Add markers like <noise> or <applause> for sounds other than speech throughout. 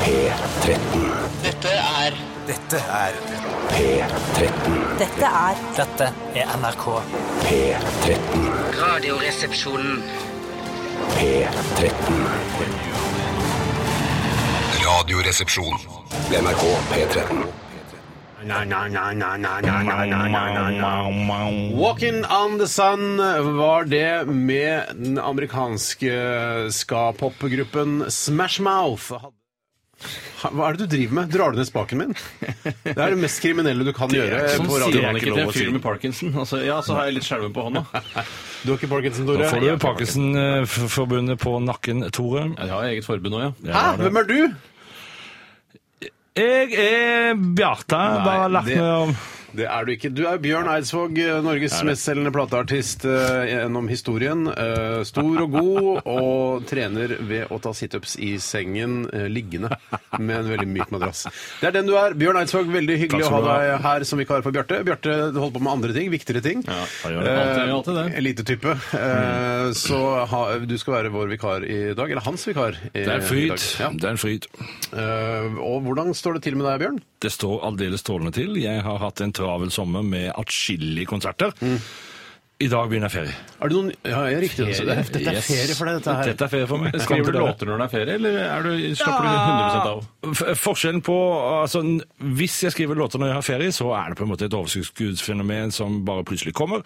P13. Dette er Dette er P13. Dette er Dette er NRK. P13. Radioresepsjonen. P13. Radioresepsjon. NRK P13. Walking on the Sun var det med den amerikanske ska-pop-gruppen Smash Mouth. Hva er det du driver med? Drar du ned spaken min? Det er det mest kriminelle du kan gjøre. Eh, Sånn på sier radio. jeg ikke til en fyr med parkinson. Altså, ja, så har jeg litt skjelven på hånda. Du har ikke Parkinson, Tore? får du jo Parkinson-forbundet eh, på nakken, Tore. Jeg har eget forbund òg, ja. Hæ? Hvem er du? Jeg er Bjarte. Bare lagt det- meg om Det er du ikke. Du er Bjørn Eidsvåg, eh, Norges mestselgende plateartist eh, gjennom historien. Eh, stor og god, og trener ved å ta situps i sengen eh, liggende med en veldig myk madrass. Det er den du er. Bjørn Eidsvåg, veldig hyggelig å skal ha du ha. deg her som vikar for Bjarte. Bjarte holder på med andre ting, viktigere ting. Ja, han gjør det. Alltid- alltid det. Eh, Elitetype. Eh, så ha, du skal være vår vikar i dag. Eller hans vikar. Det I, er en i fryd. dag. Ja. Det er en fryd. Eh, og hvordan står det til med deg, Bjørn? Det står aldeles strålende til. Jeg har hatt en travel sommer med atskillige konserter. Mm. I dag begynner ferie. Er det noen Ja, jeg er riktig. altså. Det er- Dette er Yes. ferie for deg, dette her. Dette er ferie for meg. Kom Skriver til du dere. låter når det er ferie, eller er du, slapper du 100 av? F- Forskjellen på altså, n- Hvis jeg skriver låter når jeg har ferie, så er det på en måte et overskuddsfenomen som bare plutselig kommer.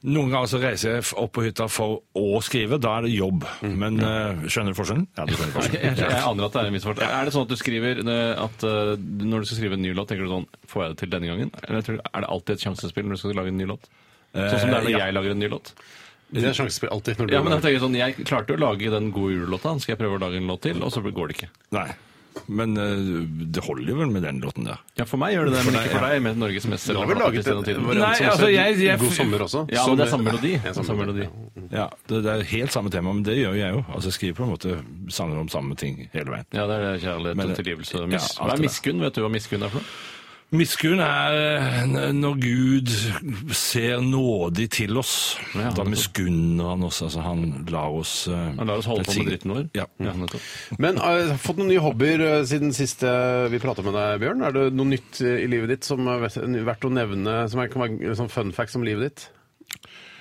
Noen ganger så reiser jeg f- opp på hytta for å skrive. Da er det jobb. Mm. Men eh, skjønner du forskjellen? Ja, du skjønner <laughs> Jeg, forskjellen. jeg aner at det er en viss forskjell. Er det sånn at du skriver eh, at eh, når du skal skrive en ny låt, tenker du sånn Får jeg det til denne gangen? Eller tror du- er det alltid et sjansespill når du skal lage en ny låt? <laughs> Sånn som det er når Eh, ja. jeg lager en ny låt. Det er sjansespill alltid. Når du Ja, men Jeg tenker sånn, jeg klarte jo å lage den gode julelåta, skal jeg prøve å lage en låt til? Og så går det ikke. Nei. Men eh, det holder jo vel med den låten der. Ja, For meg gjør det det, men ikke for deg. Med Norges mest Du har vel laget en variant Nei, som altså, heter jeg- jeg- God sommer også? Ja, men det er samme melodi. Ja, samme Samme melodi. melodi. Ja, det, det er helt samme tema, men det gjør jeg jo. Altså, jeg skriver på en måte sanger om samme ting hele veien. Ja, det er det, kjærlighet Men- og tilgivelse. og Ja, Mis alt hva det er der. miskunn? Vet du hva miskunn er for noe? Miskunn er eh, n- når Gud ser nådig til oss. da Ja, nettopp. miskunner han oss. Altså, han lar oss eh, Han lar oss holde på med dritten vår. Ja. nettopp. Men eh, har du fått noen nye hobbyer eh, siden sist eh, vi prata med deg, Bjørn? Er det noe nytt eh, i livet ditt som er vet- verdt å nevne, som er, kan være en sånn fun facts om livet ditt?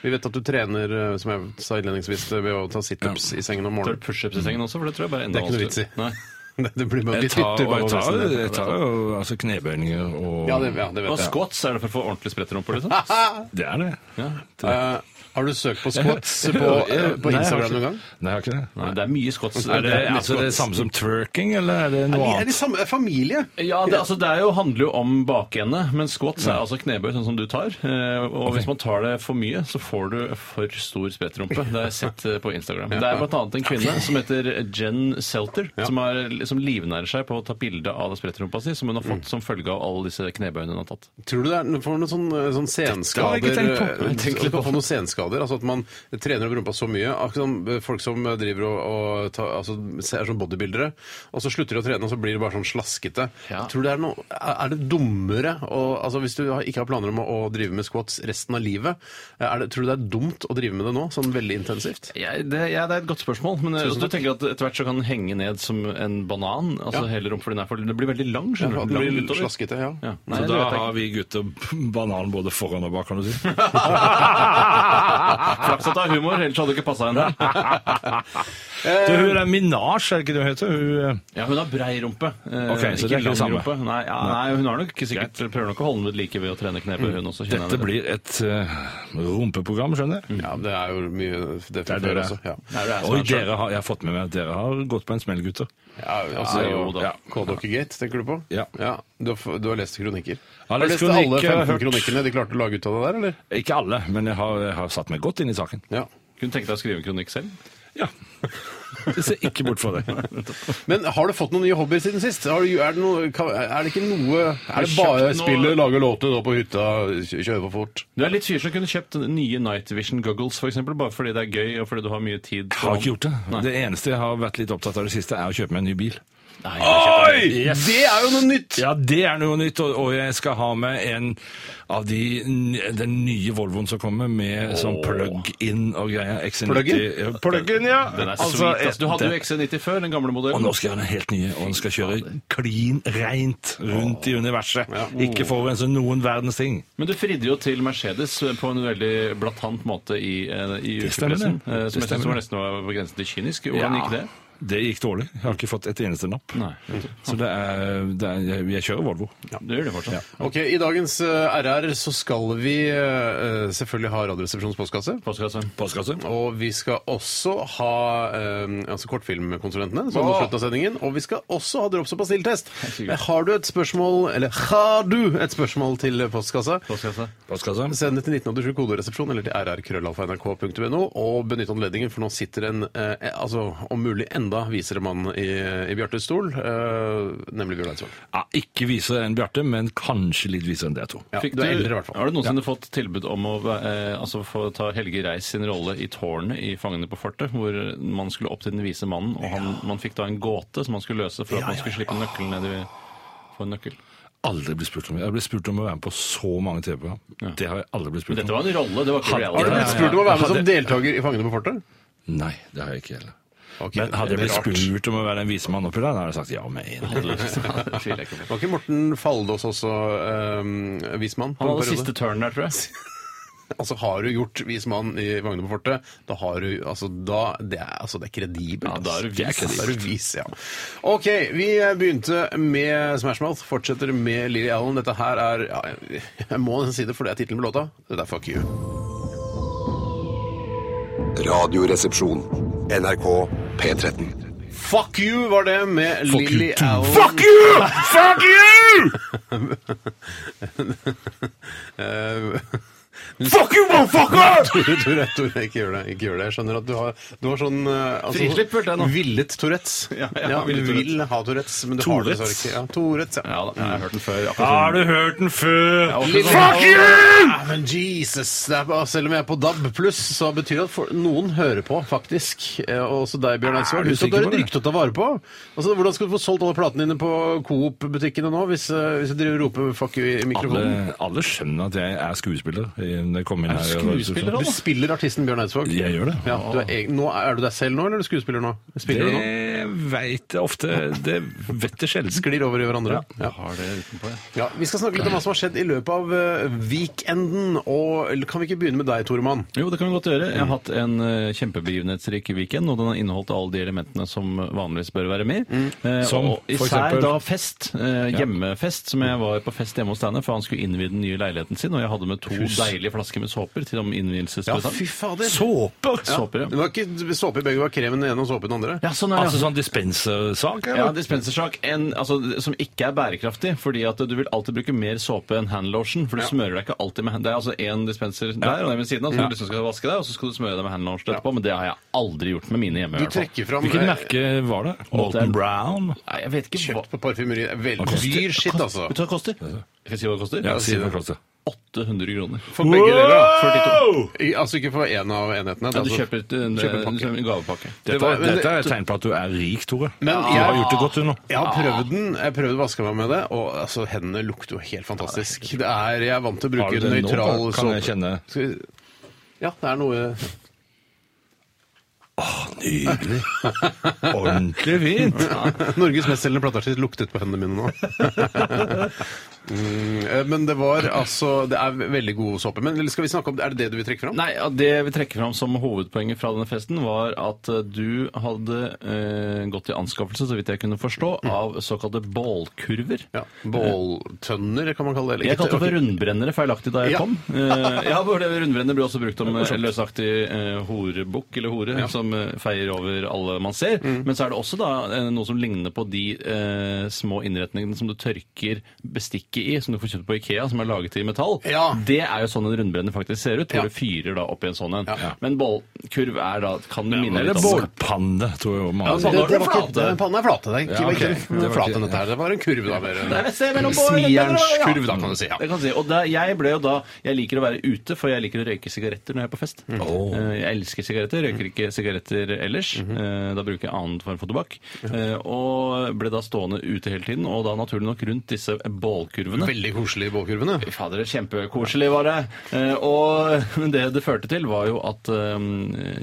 Vi vet at du trener, eh, som jeg sa innledningsvis, eh, ved å ta situps i sengen Tar om du morgenen. pushups i sengen også? For det tror jeg bare er enda Det er ikke noe vits i. Nei. <laughs> Det blir bare, Jeg vi tar, dytter og bare jeg tar, hodet ned. jeg tar jo altså, knebøyninger og Ja, det, ja, det Og vet jeg. squats er det for å få ordentlig spretterumpe, liksom? Det er det. Ja. Eh, har du søkt på squats på, eh, på Nei, jeg har Instagram ikke- noen gang? Nei, jeg har ikke det. Nei, det er mye squats. Er det, altså, det er det samme som twerking, eller er det noe Er annet? de samme? Er familie? Ja, det, altså, det er jo, handler jo om bakende, men squats er altså knebøy, sånn som du tar. Eh, Og hvis man tar det for mye, så får du for stor sprettrumpe. Det har jeg sett eh, på Instagram. Det er bl.a. en kvinne som heter Jen Selter, som, er, som livnærer seg på å ta bilde av sprettrumpa si, som hun har Mm. fått som følge av alle disse knebøyene hun har tatt. Tror du det er for noen sånn, sånn har jeg senskader ikke tenkt på. eh, Tenk litt på å få noen senskader. Altså at man trener opp rumpa så mye. Akkurat som eh, folk som eh, driver og, og ta, altså, er sånn bodybuildere, og så slutter de å trene, og så blir det bare sånn slaskete. Ja. Tror du det er noe Er er det dummere å Altså hvis du har- ikke har planer om å, å drive med squats resten av livet, eh, er det, tror du det er dumt å drive med det nå? Sånn veldig intensivt? Jeg, det, ja, det er et godt spørsmål. Men eh, du tenker at etter hvert så kan den henge ned som en banan? altså hele rumpa din er for... Det blir veldig lang, Ja, skjønner for at du. den Lang blir utover. slaskete, ja. Ja. Så Nei, det da <laughs> vet jeg har vi gutter banan både foran og bak, kan <laughs> du si. ikke. Flaks at det er humor, ellers hadde det ikke passa henne. Du, hun er Minasj, er det ikke det hun eh, heter? Hun, Ja, hun har brei rumpe. Eh, Ok, så det er ikke det samme. Nei, ja, nei, hun har nok ikke sikkert prøver nok å holde den ved like ved å trene knebøy, hun også. kjenner jeg Mm. dette det. blir et eh, rumpeprogram, skjønner jeg. Ja, det er jo mye det fra Det er før dere. også. Ja. Nei, det er Oi, sånn, dere har, jeg har fått med meg at dere har gått på en smell, gutter. Ja, altså, Ja, jo da. ja. Kåldokkegate, tenker du på? Ja. Du, har, f- du har lest kronikker? har har du lest lest alle kronikker, eh, jeg har 15 hørt. kronikkene de klarte å lage ut av det der, eller? Ikke alle, men jeg har, jeg har satt meg godt inn i saken. Ja. Kunne tenke deg å skrive en kronikk selv? <laughs> Ja. Jeg ser ikke bort fra det. Men har du fått noen nye hobbyer siden sist? Har du, er, det noe, kan- er det ikke noe Er det kjøpt noe- bare spille, lage låter, gå på hytta, kjø- kjøre for fort? Du er litt fyr som kunne kjøpt nye Night Vision goggles, for eksempel, bare fordi det er gøy og fordi du har mye tid. Jeg har ikke gjort det. Det eneste jeg har vært litt opptatt av det siste, er å kjøpe meg en ny bil. Oi! Yes. Det er jo noe nytt! Ja, det er noe nytt, og, og jeg skal ha med en av de n- den nye Volvoen som kommer, med sånn plug-in og greier. XC90. Plug-in? Ja, Plug-in, ja. Den er Altså, sweet, ass. Du hadde det- jo XC90 før, den gamle Og modellen. nå skal jeg ha den helt nye, og den skal kjøre klin reint rundt i universet. Ikke forurense noen verdens ting. Men du fridde jo til Mercedes eh, på en veldig blatant måte i, eh, i Det stemmer, det. ukepressen. eh, Det Som stemmer, jeg synes var det. nesten var på grensen til kynisk. Hvordan gikk det? Det gikk dårlig. Jeg har ikke fått et eneste napp. Nei. Så det er, det er, jeg- jeg kjører Volvo. Du gjør det fortsatt. Ok, I dagens eh, RR så skal vi eh, selvfølgelig ha Radioresepsjonens postkasse. Postkasse. Postkasse. Og vi skal også ha eh, altså kortfilmkonsulentene, som er mot slutten av sendingen. Og vi skal også ha drops- og pastilltest. Eh, hyggelig. Har du et spørsmål, eller har du et spørsmål til postkassa? Postkasse. Postkasse. Send det til 1987 koderesepsjon eller til rrkrøllalfa.nrk.no, og benytt anledningen, for nå sitter en eh, altså, om mulig enda visere mann i, i Bjartes stol, eh, nemlig Bjørn Eidsvåg. Ja, ikke visere enn Bjarte, men kanskje litt visere enn dere to. Ja, Fikk du er eldre i hvert fall. Har du noensinne fått tilbud om å eh, altså få ta Helge Reis sin rolle i tårnet i 'Fangene på fortet', hvor man skulle opp til den vise mannen, og han, man fikk da en gåte som man skulle løse for at man skulle slippe nøkkelen ned i Få en nøkkel. Aldri blitt spurt om det. Jeg ble spurt om å være med på så mange TV-program. Det har jeg aldri blitt spurt om. Dette var en rolle, det var ikke Har Har du Ja, ja, ja. reality. blitt spurt om å være med Hadde- som deltaker i Fangene på fortet? Nei, det har jeg ikke heller. Ok, Men hadde jeg det er blitt rart. spurt om å være en visemann oppi der, da hadde jeg sagt ja <laughs> med en gang. <laughs> Det tviler jeg ikke på. Var ikke Morten Faldås også eh, vismann? på Han en hadde periode? siste turn der, tror jeg. Altså, har du gjort vismann i Vagner på fortet, da har du Altså, da Det er, altså, det er kredibelt. Ja, da er du ass. Det vis. Da er du vis, ja. OK, vi begynte med Smash Mouth, fortsetter med Lily Allen. Dette her er ja, Jeg må nesten si det, for det er tittelen på låta. Det er Fuck You. Radioresepsjon. NRK P13. Fuck You var det med Fuck Lily you, too. Allen. Fuck you! Fuck you! Eh, <laughs> Fuck you, motherfucker! Tore, Tore, Tore, ikke gjør det. Ikke gjør det. Jeg skjønner at du har, du har sånn eh, altså, Frislipp, følte jeg nå. Villet Tourettes. Ja, ja, du villet Tourettes. vil ha Tourettes, men du har det dessverre Tourettes? ikke. Ja, Tourettes, ja. <laughs> Ja da, jeg har hørt den før. akkurat sånn. Har du hørt den før? Lille- Fuck you! Ja, men Jesus, det er, bare- selv om jeg er på DAB pluss, så betyr det at for, noen hører på, faktisk. Eh, Og også deg, Bjørn Er Eidsvåg. du Du skal sikker være på det? rykte å ta vare på. Altså, Hvordan skal du få solgt alle platene dine på Coop-butikkene nå, hvis, eh, hvis du driver og roper 'fuck you' i mikrofonen? Alle, alle skjønner at jeg er skuespiller. i- Når jeg kom inn her, skuespiller, Du spiller artisten Bjørn Eidsvåg. Jeg gjør det. Ja, du er, egen- nå, er du deg selv nå, eller er du skuespiller nå? Spiller du nå? Det veit jeg ofte. Det vet jeg <laughs> sjelden. Sklir over i hverandre. Ja. Har det utenpå, ja. Ja, Vi skal snakke litt om hva som har skjedd i løpet av eh, weekenden. Og eller kan vi ikke begynne med deg, Toremann? Jo, det kan vi godt gjøre. Jeg har hatt en eh, kjempebegivenhetsrik weekend, og den har inneholdt alle de elementene som vanligvis bør være med. Eh, Som og for især eksempel? da fest. eh, Hjemmefest, som jeg var på fest hjemme hos Steinar, for han skulle innvie den nye leiligheten sin, og jeg hadde med to deilige flasker med såper til om innvielsespresang. fader! Såper! Såper, Det ja. var ikke såpe i begge, det var krem i den ene og såpe i den andre. Ja, sånn er det. Altså sånn dispensersak? eller? Ja, dispensersak en, altså, som ikke er bærekraftig. fordi at du vil alltid bruke mer såpe enn handlotion. For du smører deg ikke alltid med hand- Det er altså én dispenser der og den ved siden av, så du liksom skal vaske deg, og så skal du smøre deg med handlotion etterpå. Men det har jeg aldri gjort med mine hjemme. i Du hvert fall. trekker fram Hvilket eh, merke var det? det Molten er- Brown? Nei, jeg vet ikke hva kjøpt på parfymeri. Veldig koster- dyr shit, altså. Vet du hva det koster? Skal jeg si hva det koster? Ja, si si det. det. Klasse. 800 kroner. For begge deler. da. For de to. I- Altså ikke for én av enhetene. Ja, det du er altså- kjøper et- en, kjøper en pakke. en gavepakke. Dette, var- men- dette er et tegn på at du er rik, Tore. Men du jeg- har gjort det godt, du nå. Jeg har prøvd den. Jeg prøvde å vaske meg med det, og altså, hendene lukter jo helt fantastisk. Det er, jeg er vant til å Har bruke du det nå, nøytral da? Kan jeg såpe. kjenne Skal vi- Ja, det er noe Nydelig. Ordentlig fint. Norges mestselgende plateartist luktet på hendene mine nå. Mm, eh, Men det var altså Det er veldig god såpe. Men skal vi snakke om Er det det du vil trekke fram? Nei, ja, Det vi trekker fram som hovedpoenget fra denne festen, var at eh, du hadde eh, gått i anskaffelse, så vidt jeg kunne forstå, av såkalte bålkurver. Mm. Ja, Båltønner kan man kalle det. eller? Jeg kalte det Ok. for rundbrennere feilaktig da jeg Ja. kom. Eh, <laughs> ja, for det Rundbrennere blir også brukt om eh, løsaktig eh, horebukk eller hore som eh, feier over alle man ser. Men så er det også da eh, noe som ligner på de eh, små innretningene som du tørker bestikk drikke i, som du får kjøpt på Ikea, som er laget i metall, Ja. det er jo sånn en rundbrenner faktisk ser ut, hvor Ja. du fyrer da opp i en sånn en. Ja. Men bollkurv er da Kan du minne Eller litt om bålpanne, tror jeg. man- Ja, Det, det, Panna er var ikke- flate. Panna er flate. Det er ikke, Ja, ok. ikke- Det var ikke- flate nøtt her. Det var en kurv, da. Mer. Nei, men se mellom bål- <laughs> Smijernskurv, da, kan du si. Ja. Det kan jeg si. Og da, jeg ble jo da Jeg liker å være ute, for jeg liker å røyke sigaretter når jeg er på fest. Mm. Eh, Jeg elsker sigaretter, røyker ikke sigaretter ellers. Mhm. Eh, Da bruker jeg annen form for tobakk. Eh, Og ble da stående ute hele tiden, og da naturlig nok rundt disse bålkurvene. Veldig koselig i bålkurvene. Fy Fader, kjempekoselig var det. Eh, Og men det det førte til, var jo at eh,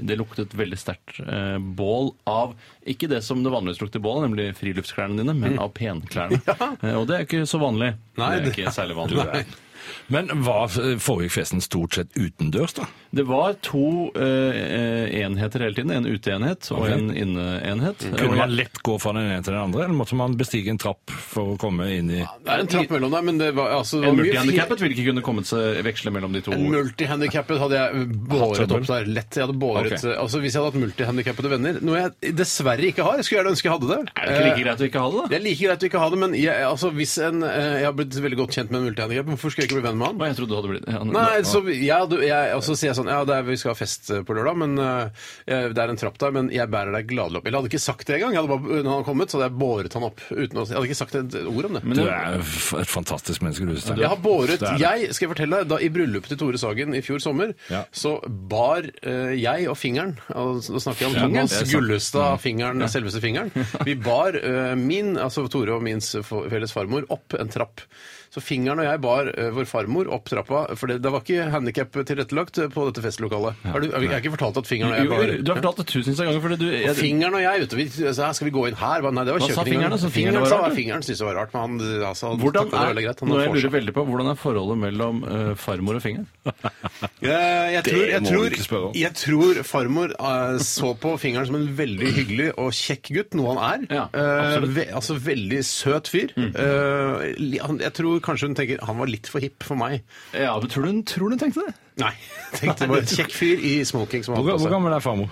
det luktet veldig sterkt eh, bål av ikke det som det vanligvis lukter bål, av, nemlig friluftsklærne dine, men av <laughs> penklærne. Eh, Og det er ikke så vanlig. Mm. Nei, det er ikke særlig vanlig. Men var forrige festen stort sett utendørs, da? Det var to eh, enheter hele tiden. En uteenhet og Ok. en inneenhet. Kunne man lett gå fra den ene til den andre, eller måtte man bestige en trapp for å komme inn i Det er en trapp mellom der, men det var, altså, det En var mye multihandikappet ville ikke kunne kommet seg veksle mellom de to. En multihandikappet hadde jeg båret trøbbel? opp der. Lett. Jeg hadde båret, Ok. altså Hvis jeg hadde hatt multihandikappede venner, noe jeg dessverre ikke har, skulle jeg gjerne ønske jeg hadde det. Eh, Er det ikke like greit å ikke ha det, da? Det er like greit å ikke ha det, men jeg, altså, hvis en, eh, jeg har blitt veldig godt kjent med en multihandikappet, hvorfor skulle jeg ikke bli venn med han? Å, Jeg trodde du hadde blitt ja, Nei, så ja, du, jeg, og så sier jeg sånn Ja, det er, vi skal ha fest eh, på lørdag, men eh, jeg- det er en trapp der, men jeg bærer deg gladelig opp. Eller jeg hadde ikke sagt det engang. Jeg hadde bare, når han hadde kommet, så hadde jeg båret han opp. Uten å, si- jeg hadde ikke sagt et ord om det. Du er f- et fantastisk menneske, du, Stein. Jeg har båret Det er det. jeg, skal jeg fortelle deg, da I bryllupet til Tore Sagen i fjor sommer, Ja. så bar eh, jeg og fingeren og Nå snakker jeg om Ja, Thomas det er sant. Mm. Gullestad, fingeren, <laughs> selveste fingeren. Vi bar eh, min, altså Tore og min s- f- felles farmor, opp en trapp. Så fingeren og jeg bar eh, vår farmor opp trappa, for det, det var ikke handikap tilrettelagt eh, på dette festlokalet. Har du, jeg har ikke fortalt at fingeren og jeg Jo, bar du har fortalt det tusenvis av ganger. Fordi du, og fingeren og jeg, vet du, vi, altså, her skal vi gå inn her? Bare, Nei, det var Hva sa kjøkkenet. fingeren, altså? Fingeren var sa- rart, du? fingeren syntes det var rart, men han altså, han hvordan taklet det er, veldig greit. Han nå har jeg forsa. lurer veldig på, hvordan er forholdet mellom eh, farmor og fingeren? Eh, Jeg Det tror, jeg, må du ikke tror, spørre om. jeg tror farmor eh, så på fingeren som en veldig hyggelig og kjekk gutt, noe han er. Ja, Eh, absolutt. Mm. ve altså veldig søt fyr. Eh, li- han- jeg tror kanskje hun tenker han var litt for hipp for meg. Ja, men tror du hun tror hun tenkte det? Nei, <laughs> tenkte det var en kjekk fyr i smoking som han Hvor, hadde hvor på seg. gammel er farmor?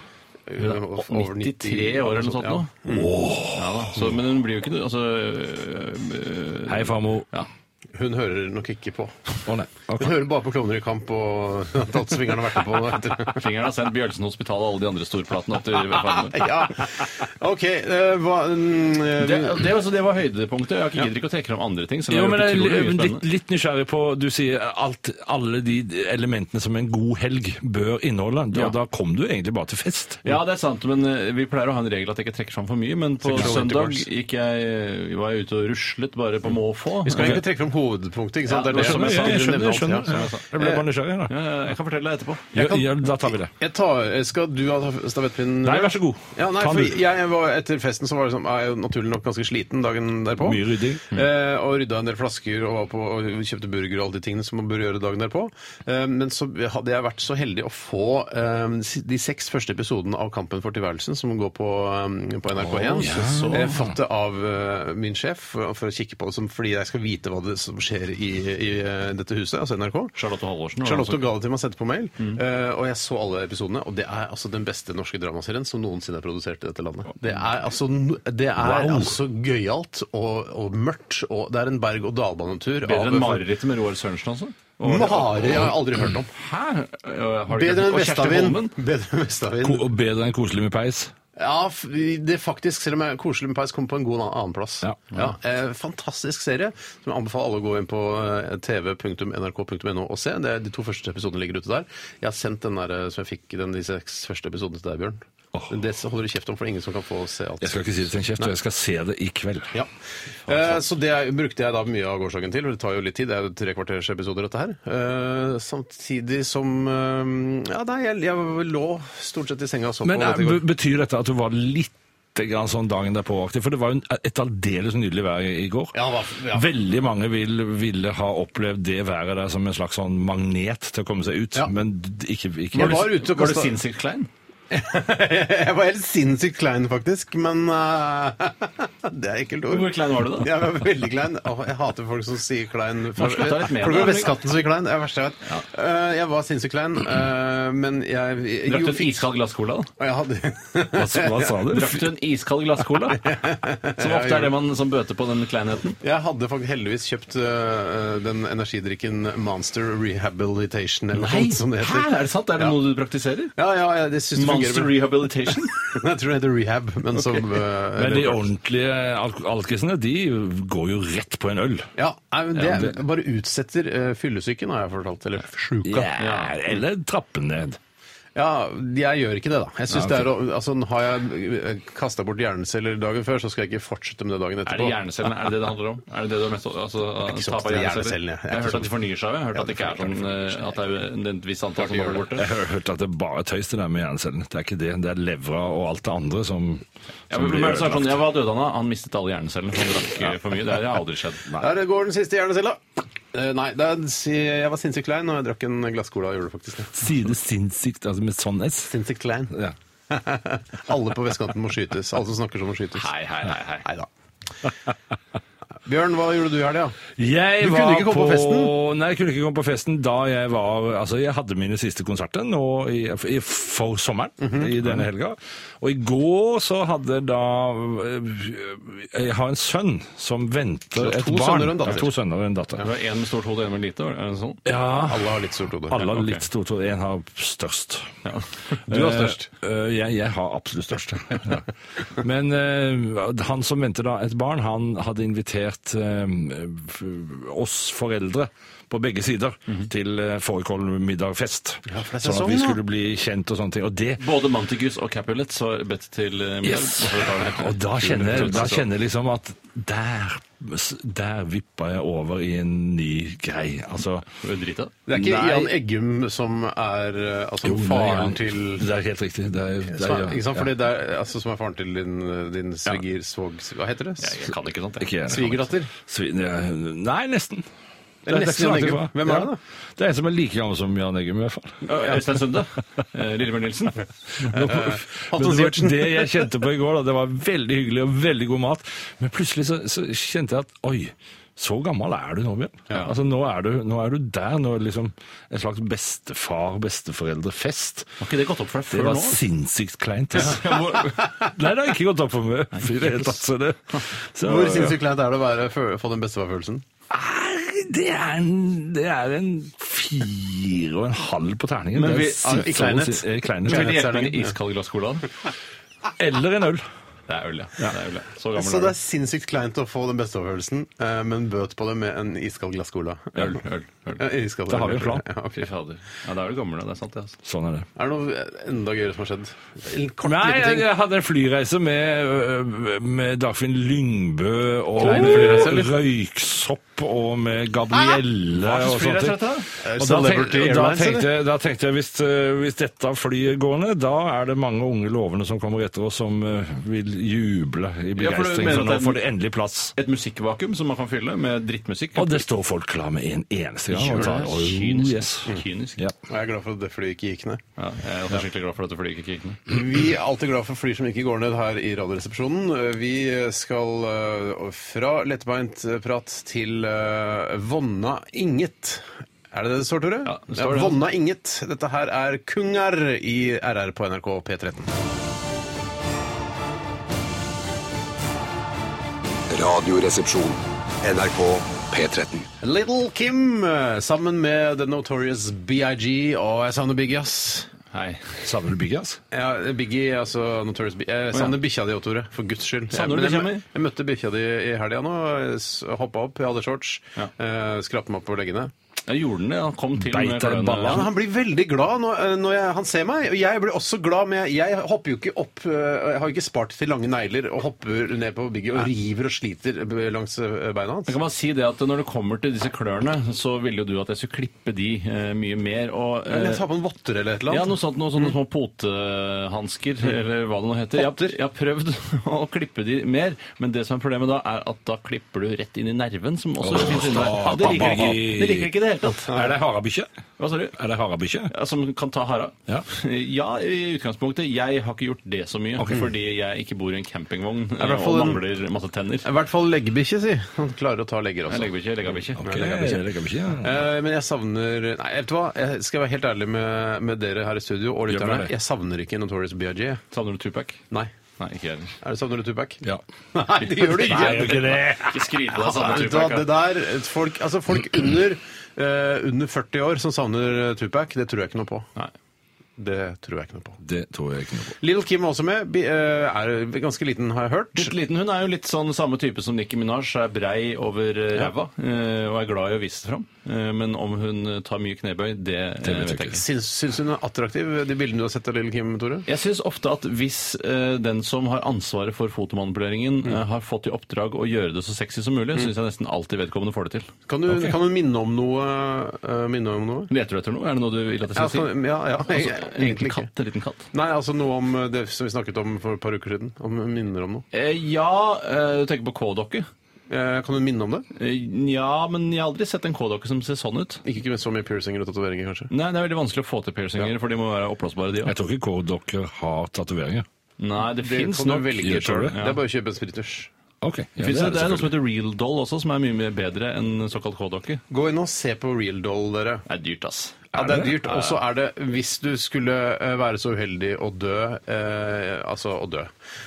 Eh, over 93 år eller noe sånt nå. Ja, da. Så, men hun blir jo ikke noe altså, øh, Hei, farmor. Å, ja. Ja. Hun hører nok ikke på. nei. Ok. Hun hører bare på Klovner i kamp og <laughs> at alt svingeren har vært med på. Fingeren har sendt Bjølsen Hospital og alle de andre storplatene opp til farmor. <laughs> Ja. OK. eh, hva mm, eh, Det, det, altså, det var høydepunktet. Jeg gidder ikke å trekke fram andre ting. Som Jo, men jeg jeg er men litt, litt nysgjerrig på Du sier alt, alle de elementene som en god helg bør inneholde. Da, Ja. da kom du egentlig bare til fest. Ja, det er sant, men eh, vi pleier å ha en regel at jeg ikke trekker fram for mye. Men på Trekker fram søndag intervals. gikk jeg, eh, var jeg ute og ruslet bare på måfå. Vi skal egentlig trekke fram hovedpunktet. ikke sant? Ja, det er det som du jeg sa, du nevner alt, jeg skjønner. ja, som jeg sa. Jeg ble bare nysgjerrig. da. Ja, Eh, Jeg kan fortelle deg etterpå. Ja, ja, da tar vi det. Jeg tar, eh, skal du ha stafettpinnen? Nei, vær så god. Ja, nei, Ta den for du. jeg var, etter festen så var jeg, sånn, er jeg jo naturlig nok ganske sliten dagen derpå. Mye rydding. Eh, og rydda en del flasker og, var på, og kjøpte burger og alle de tingene som man bør gjøre dagen derpå. Eh, men så hadde jeg vært så heldig å få eh, de seks første episodene av Kampen for tilværelsen, som går på, eh, på NRK1. ja. Eh, fått det av eh, min sjef for, for å kikke på det, som, fordi jeg skal vite hva det som skjer i, i eh, dette huset, altså NRK. Charlotte Halvorsen. var Charlotte også- ga det til meg å sette på mail, Mm. eh, og jeg så alle episodene. Og det er altså den beste norske dramaserien som noensinne er produsert i dette landet. Det er altså, no- det er Wow. altså gøyalt og, og mørkt, og det er en berg-og-dal-banetur. Bedre enn marerittet med Roar Sørensen, altså? Og- Mare jeg har aldri hørt om. Hæ? Har du ikke- Bedre enn Mm. og Kjersti Vestavind. Holmen? Bedre enn Vestavind. Ko- og Bedre enn koselig med peis. Ja, f- det er faktisk, selv om jeg koselig med peis, kom på en god annenplass. Ja. eh, fantastisk serie, som jeg anbefaler alle å gå inn på eh, tv.nrk.no og se. Det er, de to første episodene ligger ute der. Jeg har sendt den der eh, som jeg fikk den, de seks første episodene til deg, Bjørn. Men Det holder du kjeft om, for det er ingen som kan få se alt. Jeg skal ikke si det til en kjeft, og jeg skal se det i kveld. Ja. Eh, så det er- brukte jeg da mye av gårsdagen til, for det tar jo litt tid. Det er jo tre kvarters episoder, dette her. Eh, samtidig som eh, Ja, nei, jeg, jeg lå stort sett i senga og så Men på eh, dette i går. be- betyr dette at du var litt grann sånn dagen derpå-aktig? For det var jo en- et aldeles nydelig vær i i går. Ja, hva- ja. Veldig mange vil, ville ha opplevd det været der som en slags sånn magnet til å komme seg ut, Ja. men d- ikke, ikke Man var ute og Var du kastet- sinnssykt klein? <laughs> Jeg var helt sinnssykt klein, faktisk, men eh, <laughs> Det er ekkelt ord. Hvor klein var du da? Jeg var veldig klein. Åh, jeg hater folk som sier klein. For, Norsk katt er litt med, Folk da. på Vestkatten som sier klein. Det er det verste jeg vet. Eh, jeg var sinnssykt klein, eh, men jeg, jeg Drakk du jo, en iskald glass cola? da? jeg hadde <laughs> <laughs> Hva, hva sa <laughs> du? Drakk du en iskald glass cola? Som ofte er det man som bøter på den kleinheten. Jeg hadde faktisk heldigvis kjøpt øh, den energidrikken Monster Rehabilitation eller noe sånt sånn som det Hæ, heter. er det sant? Er det Ja. noe du praktiserer? Ja, ja, ja, det synes jeg fungerer Monster bra. rehabilitation? <laughs> Jeg tror det heter rehab, men som øh, Men de eller- ordentlige alk- alkisene, de går jo rett på en øl. ja, nei, men det, Ja, det- bare utsetter øh, fyllesyken, har jeg fortalt. Eller sjuka. Ja, eller trappen ned. Ja, jeg gjør ikke det, da. Jeg synes Ja, ok. det er, å- altså, Har jeg kasta bort hjerneceller dagen før, så skal jeg ikke fortsette med det dagen Er etterpå. det hjernecellene? Er det det det handler om? Er det det du er mest altså, ikke så tap av opptatt av hjernecellene, jeg. hjerneceller? Jeg er Jeg har ikke så hørt at de fornyer seg. Jeg har hørt at det ikke er sånn eh, at det er et visst antall som er borte. Jeg har hørt at det er bare tøys det der med hjernecellene. Det er ikke det. Det er levra og alt det andre som, Ja, som men, blir men, så er det sånn, ødelagt. ja, hva døde han av? Han mistet alle hjernecellene. Han drakk eh, for mye. Det har aldri skjedd. Der går den siste hjernecella. Eh, nei, det er, jeg var sinnssykt klein, og jeg drakk en glass cola og gjorde det faktisk. det. Sier det sinnssykt, altså med sånn S? Sinnssykt klein. Ja. Alle på vestkanten må skytes. Alle som snakker sånn, må skytes. Hei, hei, hei. hei. Nei da. Bjørn, hva gjorde du i helga? Jeg Du kunne var ikke komme på festen? Nei, jeg kunne ikke komme på festen da jeg var Altså, jeg hadde mine siste konserter nå i, i, for sommeren, Mhm. i denne helga. Og i går så hadde da øh, Jeg har en sønn som venter Du har et to barn. sønner og Jeg en har datter. To sønner og en datter. Det var en med stort hode og en med lite. var det- Er det sånn? Ja, Alle har litt stort hode. alle har ok. litt stort hode. En har størst. <laughs> Du har størst. Eh, eh, jeg, jeg har absolutt størst. <laughs> ja. Men eh, han som venter da et barn, han hadde invitert eh, f- oss foreldre på begge sider til uh, Fårikål middagfest. Mhm. for det er sånn at sesong, vi da. skulle bli kjent og sånne ting. Og det Både Manticus og Capulets var bedt til eh, middag. Yes. Hvorfor tar den helt- Og da kjenner jeg, da kjenner jeg liksom at der, der vippa jeg over i en ny grei. Altså Drit av. Det er ikke Nei. Jan Eggum som er eh, altså, Jo, nei, faren han- til Det er helt riktig. Det er, det er, Sven- ikke sant? ja. Fordi det er, altså, Som er faren til din, eh, din sviger... Svog, hva heter det? Jeg kan ikke sånt. jeg. Ikke jeg. Svigerdatter? Svi- Nei, nesten. Det er Det er ikke nesten Jan langt Eggum. ifra. Hvem er det, da? Ja. Det er en som er like gammel som Jan Eggum, i hvert <laughs> fall. Ø, Øystein Sunde. Eh, Lillebjørn Nilsen. Nå- Men det var det jeg kjente på i går. Da. Det var veldig hyggelig og veldig god mat. Men plutselig så, så kjente jeg at oi, så gammel er du nå, Bjørn. Altså, nå, er du, nå er du der. Nå er det liksom en slags bestefar-besteforeldre-fest. Har ikke det gått opp for deg Det før var nå? sinnssykt kleint. <laughs> ass. Ja, hvor- Nei, det har ikke gått opp for meg. i det hele tatt, så det- så- Hvor sinnssykt kleint er det å være, fø- få den bestefarfølelsen? Nei, Det er en, det er en fire og en halv på terningen. Men Det er vi- sitt- i kleinhet. så- i eh, kleinhet, Vil du ja. hjelpe meg med en iskald glass cola? Det Eller en øl. er øl, ja. Det er øl, ja. Så gammel Så er det er du. sinnssykt kleint å få den bestefarfølelsen, eh, men bøt på det med en iskald glass cola. Øl, øl, øl. Ja, iskald Da har vi en øl. plan. Ja, ok. Fy fader. Ja, da er du gammel, da. Det er sant, det. altså. Sånn er det. Er det noe enda gøyere som har skjedd? En kort Nei, liten jeg, ting. jeg hadde en flyreise med, ø, med Dagfinn Lyngbø og Kleine flyreise, eller? Røyksopp og med Gabrielle og sånt. flyreise er dette? Er det Og da Celebrity tenkte, og da Airlines, tenkte, jeg- da tenkte jeg hvis, ø, hvis dette flyet går ned, da er det mange unge lovende som kommer etter oss som ø, vil juble i Ja, for du begeistring. mener for at det nå er- får det endelig plass. Et musikkvakuum som man kan fylle med drittmusikk. Og det står folk klar med en eneste gang. og tar- oh, Kynisk. yes. Kynisk. Ja. Og jeg er glad for at det flyet ikke gikk ned. Ja, jeg er også skikkelig glad for at du flyr ikke kikene. Vi er alltid glad for fly som ikke går ned her i Radioresepsjonen. Vi skal eh, fra lettbeint prat til eh, Vonna Inget. Er det det det står, Tore? Ja, det står det. Vonna Inget. Dette her er Kungar i RR på NRK P13. Radioresepsjon. NRK P13. Little Kim eh, sammen med The Notorious BIG og jeg savner Biggie, ass. Hei. Savner du Biggie, altså? Ja, Biggie, altså Notorious Biggie. Jeg savner bikkja di òg, Tore. For guds skyld. Savner du Ja, men bikkja jeg, mi? jeg møtte bikkja di i helga nå. Hoppa opp, jeg hadde shorts. Ja. Eh, Skrapte meg opp på leggene. Jeg gjorde den, det. Han kom til Beit deg med i klørne. balla. Ja, men han blir veldig glad når, eh, når jeg, han ser meg. Og jeg blir også glad, men jeg, jeg hopper jo ikke opp eh, Jeg har jo ikke spart til lange negler og hopper ned på Biggie og river og sliter eh, langs eh, beina hans. Men kan man si det at Når det kommer til disse klørne, så ville jo du at jeg skulle klippe de eh, mye mer. og... eh, Eller ta på en votter eller et eller ja, annet. noe sånt, noen sånne små potehansker, Mm. eller hva det nå heter. Jeg, har- jeg har prøvd <laughs> å klippe de mer, men det som er problemet da, er at da klipper du rett inn i nerven, som også finnes inni der. Ja, det liker jeg ikke. Det liker jeg ikke det det hele tatt. Er det harabikkje? Hva sa du? Er det harabikkje? Ja, Som kan ta hara? Ja. <laughs> Ja, i utgangspunktet. Jeg har ikke gjort det så mye, fordi jeg ikke bor i en campingvogn i hvert eh, fall og en- mangler masse tenner. I hvert fall leggbikkje, si. Han klarer å ta legger Jeg også. legger ikke, jeg legger ikke. Ok, legabikkje, ja. Eh, men jeg savner Nei, vet du hva? Jeg skal være helt ærlig med, med dere her i studio og Gjør lytterne. det. Jeg savner ikke Notorious BIG. Savner du Tupac? Nei. Nei, ikke jeg heller. Er det savner du Tupac? ja. Nei, det gjør du Nei, ikke! gjør ikke det. Ikke skriv på deg Nei, savner vet du hva, Tupac. det da. der, folk, altså folk under, eh, under 40 år som savner eh, Tupac, det tror jeg ikke noe på. Nei. Det tror jeg ikke noe på. Det tror jeg ikke noe på. Little Kim er også med. Bi- eh, Er ganske liten, har jeg hørt. Litt liten hun er jo litt sånn samme type som Nicki Minaj, er brei over eh, ræva eh, og er glad i å vise det fram. Eh, Men om hun tar mye knebøy, det eh, vet vet jeg jeg ikke. Syns, syns hun er attraktiv, de bildene du har sett av Little Kim, Tore? Jeg syns ofte at hvis eh, den som har ansvaret for fotomanipuleringen, Mm. eh, har fått i oppdrag å gjøre det så sexy som mulig, synes syns jeg nesten alltid vedkommende får det til. Kan du, kan du minne om noe? eh, minne om noe? Leter du etter noe? Er det noe du vil at jeg Ja, skal si? kan, ja, ja Altså, en egentlig liten ikke. katt? En liten katt. Nei, altså noe om eh, det som vi snakket om for et par uker siden. Om minner om noe. Eh, ja, eh, du tenker på k-dokke? Eh, kan du minne om det? Eh, ja, men jeg har aldri sett en k-dokke som ser sånn ut. Ikke med så mye piercinger og tatoveringer, kanskje. Nei, det er veldig vanskelig å få til piercinger, for de må være oppblåsbare, de Jeg òg. tror ikke kårdokker har tatoveringer. Nei, det, Det finnes fins kan nok. du velge Gjør selv selv. det. Det er bare å kjøpe en spiritusj. Ok. ja, Det finnes, det, er noe selvfølgelig. som heter real doll også, som er mye mer bedre enn såkalt k-dokke. Gå inn og se på Real Doll, dere. Det er dyrt, ass. Ja, Er det det er dyrt. Og så er det, hvis du skulle eh, være så uheldig å dø, eh, altså å dø,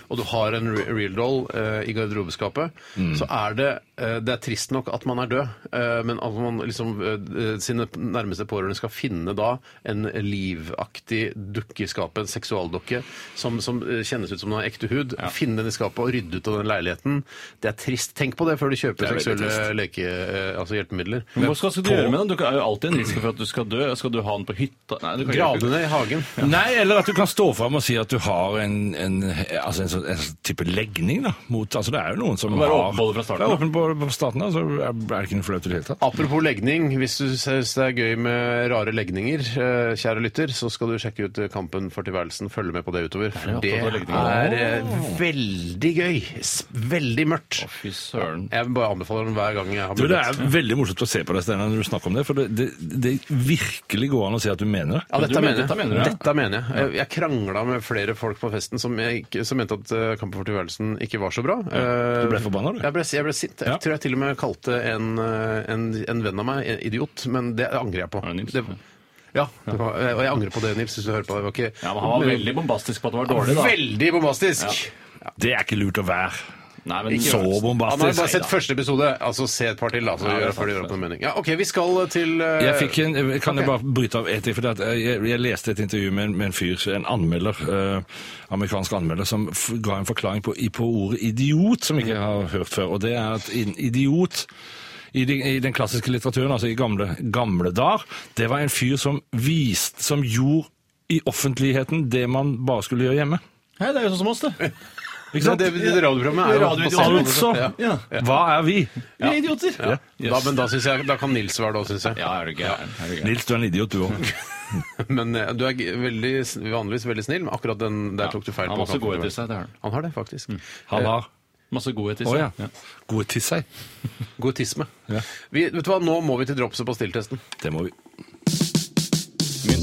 og du har en re- real doll eh, i garderobeskapet, så er det eh, Det er trist nok at man er død, eh, men at man liksom eh, sine nærmeste pårørende skal finne da en livaktig dukke i skapet, en seksualdukke, som, som eh, kjennes ut som den har ekte hud, finne den i skapet og rydde ut av den leiligheten. Det er trist. Tenk på det før du kjøper seksuelle leke, eh, altså hjelpemidler. Men Hva skal, skal du gjøre med den? Du er jo alltid en risiko for at du skal dø. Skal du ha den på hytta? Nei, du kan ikke- Gravene i hagen. Nei, eller at du kan stå fram og si at du har en, en, altså en, sånn, en sånn type legning da, mot altså Det er jo noen som Være har åpen på det fra starten, Ja, da. åpen på, på starten da, så er er det ikke noe flaut i det hele tatt. Apropos legning, hvis du syns det er gøy med rare legninger, eh, kjære lytter, så skal du sjekke ut eh, Kampen for tilværelsen. Følg med på det utover. For opptatt det av er legninger. eh, veldig gøy. S- Veldig mørkt. Å, Fy søren. Jeg bare anbefaler den hver gang jeg har Du, det mulighet. er veldig morsomt å se på deg, Steinar, når du snakker om det. For det, det, det virkelig går an å si at du mener det. Ja, Du dette mener- mener, jeg. dette mener du, ja. dette mener jeg. Jeg, jeg krangla med flere folk på festen som, jeg, ikke- som mente at eh, Kampen for tilværelsen ikke var så bra. Eh, du ble forbanna, du? Jeg ble, jeg ble sint. Jeg Ja. tror jeg til og med kalte en, eh, en, en venn av meg en idiot, men det angrer jeg på. det Nils? ja, det var, eh, og jeg angrer på det, Nils, hvis du hører på. Det var ikke Ja, men Han var veldig bombastisk på at det var dårlig, da. Veldig bombastisk! Det er ikke lurt å være. Nei, men Ikke så Han har jo bombastisk. bare sett første episode. Altså, Se et par til, da. Så Ja, det er gjør, sant, før de gjør det opp er noen mening. Ja, OK, vi skal til eh, Jeg fikk en, kan ok. jeg bare bryte av et ting? Fordi at jeg, jeg leste et intervju med en, med en fyr, en anmelder, eh, amerikansk anmelder, som f ga en forklaring på, i- på ordet idiot, som jeg ikke har hørt før. Og det er at en idiot i, de, I den klassiske litteraturen, altså i gamle, gamle dager, det var en fyr som viste, som gjorde i offentligheten det man bare skulle gjøre hjemme. Hei, det er jo sånn som oss, det. Ikke Nei, sant? det, <laughs> det radioprogrammet er jo Radioidiot. Altså, Ja. Ja. hva er vi? Vi er idioter. Yes. Da, men da, synes jeg, da kan Nils være det òg, syns jeg. Ja, er du gæren. Er du gæren. Nils, du er en idiot, du òg. Men eh, du er g- veldig, s- vanligvis veldig snill, men akkurat den der tok du feil. Han har på. masse godhet i seg, Mm. det har han. Han har det, faktisk. Han har Masse godhet i Å seg. ja. Gode til seg. Godtisme. Vi, vet du hva, Nå må vi til drops- og <laughs> pastilltesten. Det må vi. Min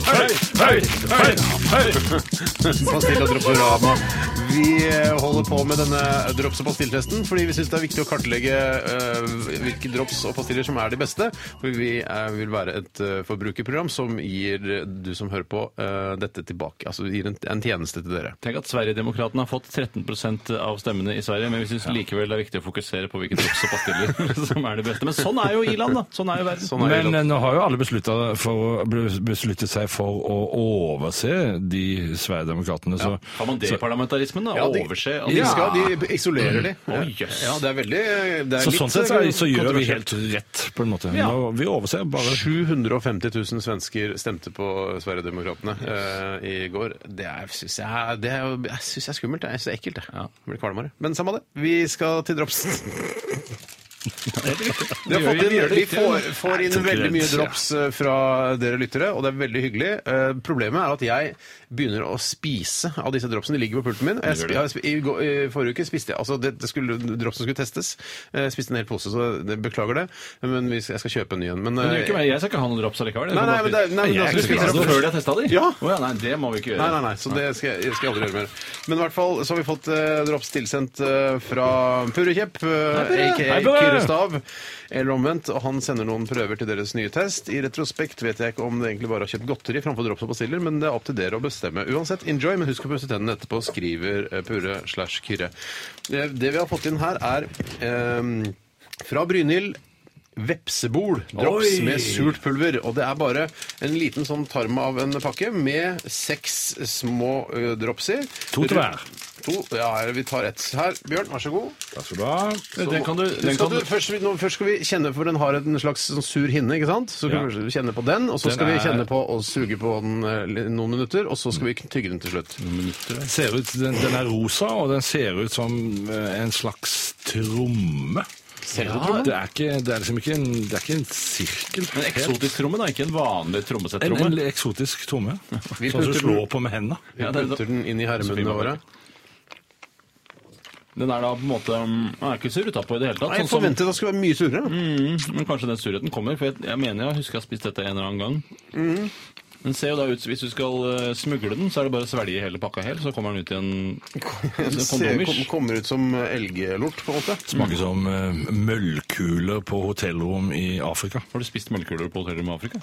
høy, høy, høy, høy. Pastill og dropsorama. Vi eh, holder på med denne drops- og pastilltesten fordi vi syns det er viktig å kartlegge eh, hvilke drops og pastiller som er de beste. For vi eh, vil være et eh, forbrukerprogram som gir eh, du som hører på, eh, dette tilbake. Altså gir en, en tjeneste til dere. Tenk at Sverigedemokraterna har fått 13 av stemmene i Sverige, men vi syns likevel det er viktig å fokusere på hvilke drops og pastiller <laughs> som er det beste. Men sånn er jo Iland, da. Sånn er jo verden. Sånn er det. Men eh, nå har jo alle besluttet, for, besluttet seg for å overse de Sverigedemokratene. Så, Kan man det i parlamentarismen, da? Ja, de- Overse? De, skal, de isolerer de. Å, jøs. Ja, det er veldig det er Mm. så, litt eh, sånn sett så, er- så gjør vi kontroversielt. helt rett, på en måte. Ja. Nå, vi overser bare 750 000 svensker stemte på Sverigedemokraterna eh, i går. Det er- syns jeg, det er- jeg synes jeg er skummelt. Jeg synes det er ekkelt. Jeg. Ja. jeg blir kvalmere. Men samme det. Vi skal til dropsen. Vi, har fått inn, vi får, får inn Nei, veldig mye konkurrent, ja. drops eh, fra dere lyttere, og det er veldig hyggelig. Eh, Problemet er at jeg begynner å spise av disse dropsene. De ligger på pulten min. Jeg, spi- jeg, spi- i, går- I forrige uke spiste jeg altså det, det skulle, Dropsen skulle testes. Jeg spiste en hel pose, så det- beklager det. Men vi, skal- jeg skal kjøpe en ny en. Men, Men det eh, gjør ikke meg. Jeg skal ikke ha noen drops allikevel. Nei, nei, men det er- nei, men jeg altså, skal vi spise spiser dem opp- før de har testa de? Ja. Å ja, nei, det må vi ikke gjøre. Nei, nei, nei, så det skal jeg, skal jeg aldri gjøre mer. Men i hvert fall så har vi fått eh, drops tilsendt eh, fra Purrekjepp, eh, aka Hei, Purre! Kyrre Stav, eller omvendt, og han sender noen prøver til deres nye test. I retrospekt vet jeg ikke om det egentlig bare har kjøpt godteri framfor drops og pastiller, men det er opp til dere å bestemme. Uansett, enjoy, men husk å pusse tennene etterpå, skriver eh, Purre slash Kyrre. Eh, Det vi har fått inn her, er eh, fra Brynhild Vepsebol drops Oi! med surt pulver. Og det er bare en liten sånn tarm av en pakke med seks små ø, drops i. To til hver. To, ja, eller vi tar ett her. Bjørn, vær så god. Takk skal du ha. Den kan du, Nå den skal kan du, du først, nå, først skal vi kjenne, for den har en slags sånn sur hinne, ikke sant? Så Ja. kan vi kjenne på den, og så Den skal er- vi kjenne på og suge på den ø, li- noen minutter, og så skal vi tygge den til slutt. Mm. Den ser ut, den, den er rosa, og den ser ut som eh, en slags tromme. Ser du Ja, det er, ikke, det er liksom ikke en, det er ikke en sirkel. En eksotisk tromme, da, ikke en vanlig En, trommesettromme. en eksotisk tromme. <laughs> Vi Sånn som du putter slår på med hendene. Vi Ja, det er- putter den inn i Sofie herremunnene Mabel. våre. Den er da på en måte mm, Den er ikke sur utapå i det hele tatt. Nei, jeg sånn som- forventet det skulle være mye surere. Mm, men kanskje den surheten kommer, for jeg, jeg mener jeg husker jeg har spist dette en eller annen gang. Mm. Den ser jo da ut, Hvis du skal eh, smugle den, så er det bare å svelge hele pakka helt, så kommer den ut i en Det en ser, <laughs> kom, kondomers. kommer ut som elgelort, på en måte. Smaker som eh, møllkuler på hotellrom i Afrika. Har du spist melkekuler på hoteller med Afrika?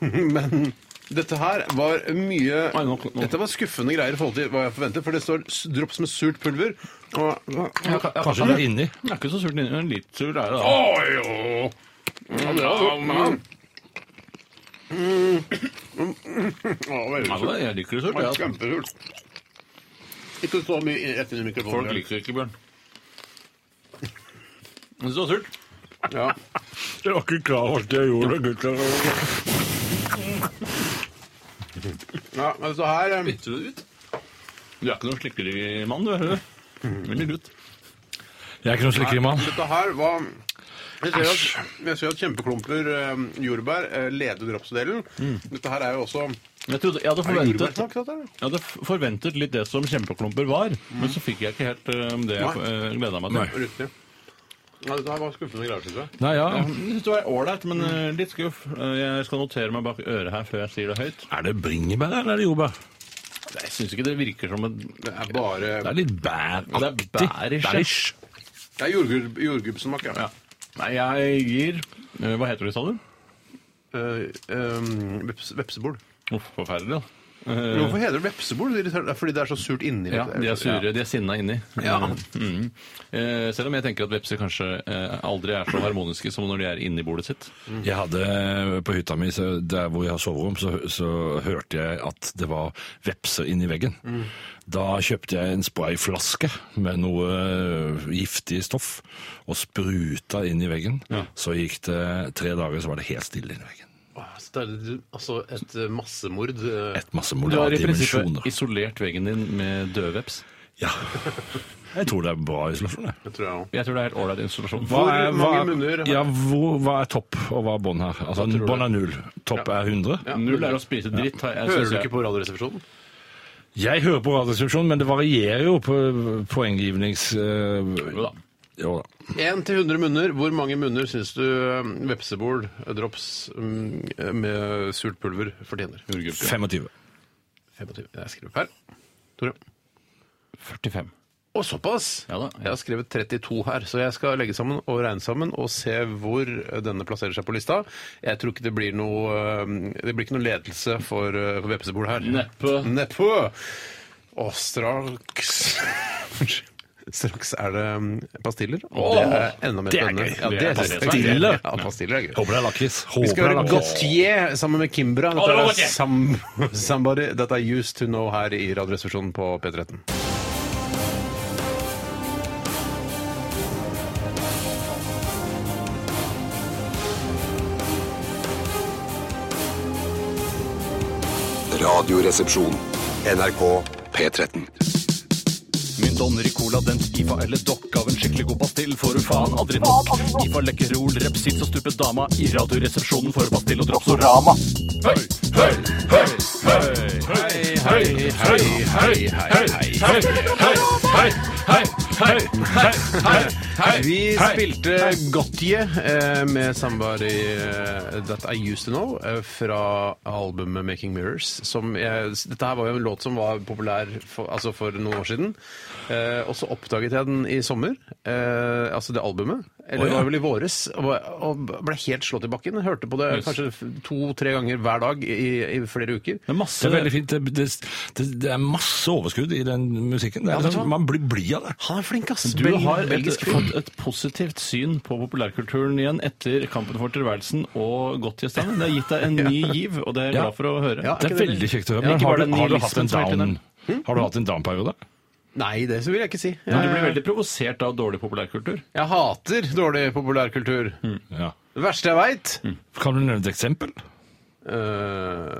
Men dette her var mye Nei, nok- nok. Dette var skuffende greier i forhold til hva jeg forventet, for det står s- drops med surt pulver. Og Kanskje det er inni. Den er ikke så sur, den er litt sur er det da. Mm. Ja, det er- jeg liker det surt. jeg, altså. Kjempesurt. Ikke så mye rett inn i Folk mikrofonen. liker det ikke, Bjørn. Men så surt. Ja. Jeg var ikke klar over at jeg gjorde det, gutter. Ja, men så her eh, Bytter du det ut? Du er ikke noen slikkerimann, du, er du? Veldig gutt. Jeg er ikke noen slikkerimann. Dette her var jeg ser, at, jeg ser at kjempeklumper eh, jordbær eh, leder dropsdelen. Mm. Dette her er jo også Er Jeg, trodde, jeg hadde det forventet jordbærsmak, dette? her? Jeg hadde f- forventet litt det som kjempeklumper var, men så fikk jeg ikke helt eh, det jeg uh, gleda meg til. Riktig. Ja, dette her var skuffende greier, syns jeg. Nei, ja. Jeg synes det var ålreit, men eh, litt skuff. Eh, Jeg skal notere meg bak øret her før jeg sier det høyt. Er det bringebær eller er det jordbær? Jeg syns ikke det virker som et Det er bare Det er litt bæraktig. Det er bærish, ja. Bærish. Det er jordgub- jordgubbsmak, ja. ja. Nei, jeg gir eh, Hva heter det, sa du? Eh, ehm, veps, vepsebol. Uff, forferdelig, da. Eh, Hvorfor heter det vepsebol? Det er irriterende. Det er Fordi det er så surt inni. ja, de er sure, Ja. de er sinna inni. Mm. Eh, selv om jeg tenker at vepser kanskje eh, aldri er så harmoniske som når de er inni bordet sitt. Jeg hadde eh, på hytta mi, så der hvor jeg har soverom, så, så hørte jeg at det var vepser inni veggen. Da kjøpte jeg en sprayflaske med noe eh, giftig stoff og spruta inn i veggen. Så gikk det tre dager, så var det helt stille inni veggen. Åh, så det er Altså et eh, massemord. eh. Et masse Du har molar i prinsippet dimensjoner. isolert veggen din med døde veps. Ja. Jeg tror det er bra isolasjon, jeg. Det tror jeg òg. Jeg tror det er helt ålreit isolasjon. Hvor mange munner har- ja, hvor, hva er topp, og hva er bånd her? Altså, bånd er null. Topp er 100. Null er å spise dritt. har Jeg, Hører synes du jeg. ikke på Radioresepsjonen? Jeg hører på Radioresepsjonen, men det varierer jo på poenggivnings... eh, Jo da. jo da. 1 til 100 munner. Hvor mange munner syns du eh, vepsebol, eh, drops mm, eh, med surt pulver, fortjener? 25. 25. Jeg skriver opp her. Tore. 45. Å, såpass! Ja da, ja. Jeg har skrevet 32 her, så jeg skal legge sammen og regne sammen og se hvor eh, denne plasserer seg på lista. Jeg tror ikke det blir noe, eh, det blir ikke noe ledelse for, eh, for vepsebol her. Neppe. Neppe! Og straks <laughs> Straks er det mm, pastiller, og det er enda mer det er spennende. gøy. Ja, Det det er synes jeg pastiller. Ja, pastiller er gøy. Håper det er lakris. Vi skal Håper det er høre lakris. Gautier sammen med Kimbra. Å, det Dette var er Sam <laughs> Somebody That I Used To Know her i Radioresepsjonen på P13. Radioresepsjon. NRK P13. Min Min donner i cola, den IFA eller dokk av en skikkelig god pastill får du faen aldri nok. IFA lekkerol, repsits og stupet dama i Radioresepsjonen for pastill og Dropsorama. Høy, høy, høy, høy, høy, høy, høy, høy, høy, høy, høy, høy, høy, høy, høy, høy. Vi spilte Gotye eh, med 'Somebody eh, That I Used To Know' eh, fra albumet 'Making Mirrors'. Som jeg, dette her var jo en låt som var populær for, altså for noen år siden. Eh, og så oppdaget jeg den i sommer, eh, altså det albumet. Eller det var vel i våres. Og, bare- og ble helt slått i bakken. Jeg hørte på det Yes. kanskje f- to-tre ganger hver dag i, i flere uker. Det er Det masse er veldig fint. Det, det, det, det er masse overskudd i den musikken. Det er vet du hva? sånn, man blir blid av det. Han er flink, ass! Du Bel- har et, belgisk fyr. fått et positivt syn på populærkulturen igjen etter Kampen for tilværelsen og Godtgjesteinen. Det har gitt deg en ny giv, og det er jeg glad for å høre. Ja. Det ikke er det veldig veldig- kjekt å høre. Ja, Men ikke har, bare du, har du hatt nihilismen en som er down? Hm? tydelig. Har du hatt en down-periode? Nei, det vil jeg ikke si. Men du blir Jeg, veldig provosert av dårlig populærkultur. jeg hater dårlig populærkultur. Ja. Det verste jeg veit Kan du nevne et eksempel? Eh,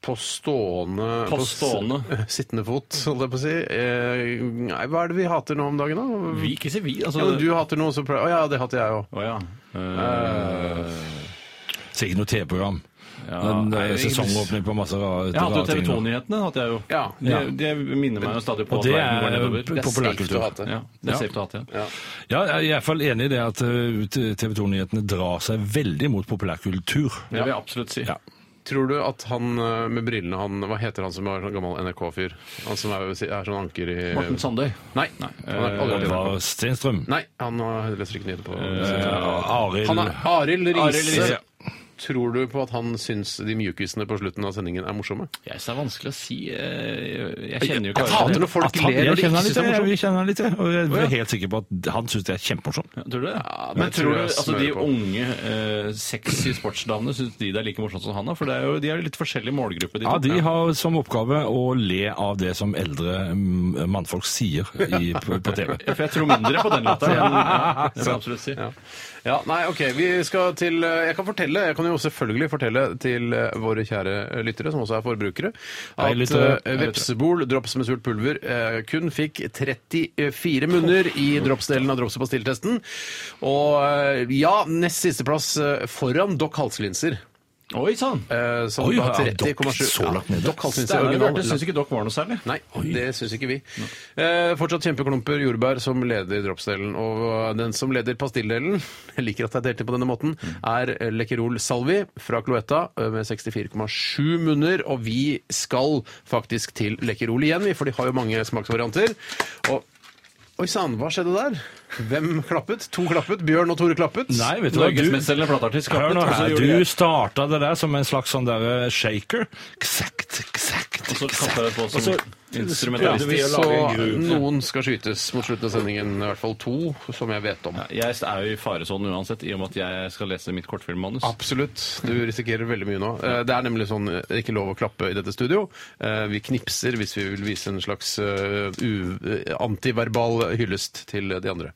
på stående På på stående. s- <laughs> Sittende fot, holdt jeg på å si. Eh, nei, hva er det vi hater nå om dagen, da? Vi, ikke si vi, Ja, altså. men du hater noe, så pleier Å ja, det hater jeg òg. Å ja. Eh, Sikkert noe TV-program. Ja, en eh, nei, sengåpning på masse rare, Jeg hadde jo rare TV ting. da. 2-nyhetene. hadde jeg jo. Ja. Det, det minner meg jo stadig på Og at det verden går er nedover. populærkultur. safe å hate. Ja, det Ja. er safe å hate. Ja. Ja, jeg er i hvert fall enig i det at TV 2-nyhetene drar seg veldig mot populærkultur. Det vil jeg absolutt si. Ja. Tror du at han eh, med brillene han Hva heter han som var sånn gammel NRK-fyr? Han som er, er sånn anker i Morten Sandøy. Nei. Han har aldri vært i NRK. Oliver Stenstrøm. Nei, han har- leser ikke nyheter på Eh, Arild Han er Arild Arild Riise. Riise. Tror du på at han syns de mjukisene på slutten av sendingen er morsomme? Jeg synes det er vanskelig å si. eh, Jeg kjenner jo Jeg ikke hater når folk Han- ler Jeg og de kjenner ikke han syns litt, det er jeg, morsomt. vi kjenner han litt. jeg. Og jeg er helt sikker på at han syns det er kjempemorsomt. Ja, Tror du det? det men tror tror du, jeg altså smører De på. unge, eh, sexy sportsdamene, syns de det er like morsomt som han? da? For det er jo, de er jo litt forskjellig målgruppe, de Ja, to. De har som oppgave å le av det som eldre mm, mannfolk sier i, på, på TV. Ja, For jeg tror mindre på den låta. enn- Ja, det vil jeg absolutt si. Ja. ja, nei, ok, vi skal til eh, Jeg kan fortelle, jeg kan jo selvfølgelig fortelle til eh, våre kjære lyttere, som også er forbrukere, Hei, at lyttere. eh, vepsebol, drops med surt pulver, eh, kun fikk 34 munner i dropsdelen av drops- og pastilltesten. Og eh, ja, nest sisteplass eh, foran Dock halslinser. Oi sann! eh, Som Oi, da ja, Dock 30,7 så langt nede. Dock halslinser Steinar original. Bjarte syns ikke dere var noe særlig. Nei, det syns ikke vi. Eh, fortsatt kjempeklumper jordbær som leder dropsdelen. Og den som leder pastilldelen, <laughs> jeg liker at jeg delte på denne måten, Mm. er Lekkerol Salvi fra Cloetta eh, med 64,7 munner. Og vi skal faktisk til Lekkerol igjen, vi, for de har jo mange smaksvarianter. Og Oi sann, hva skjedde der? Hvem klappet? To klappet. Bjørn og Tore klappet. Nei, vet du hva? Du, Norgesmesterlig plateartist. hør Kappet, nå og så her, gjorde du jeg- starta det der som en slags sånn der shaker. Ksekt, ksekt, Og så kappet jeg på ksekt. som prøvde vi å instrumentalist. Så lage en groove. noen skal skytes mot slutten av sendingen. I hvert fall to, som jeg vet om. Ja, Jeg er jo i faresonen uansett, i og med at jeg skal lese mitt kortfilmmanus. Absolutt. Du risikerer veldig mye nå. Eh, Det er nemlig sånn eh, det er ikke lov å klappe i dette studio. Eh, Vi knipser hvis vi vil vise en slags eh, u- eh, antiverbal hyllest til eh, de andre.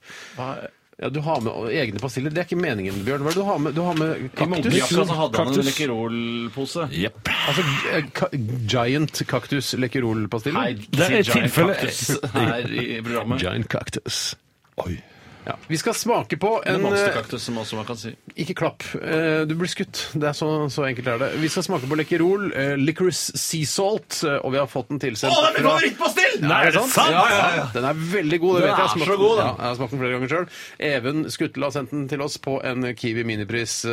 Ja, du har med egne pastiller. Det er ikke meningen, Bjørn. Hva er det du har med? Du har med kaktus? Jakka så hadde han en Kaktus. Lekkerol-pose. Jepp. Altså eh, ka giant kaktus Nei, lekkerolpastiller? Det er sier Giant tilfelle- Cactus her i programmet. Giant cactus. Oi. Ja. Vi skal smake på En en eh, monsterkaktus, som også man kan si. Ikke klapp. Eh, Du blir skutt. Det er så, så enkelt er det. Vi skal smake på Lekkerol, eh, Licorice Sea Salt, eh, og vi har fått den tilsendt Å, det er min fra- favorittpastill! Nei, er det sant? sant? Ja, ja, ja. Den er veldig god. Det Den vet jeg. er Jeg har så smakt god, den. Ja, jeg har smakt den flere ganger sjøl. Even Skutle har sendt den til oss på en Kiwi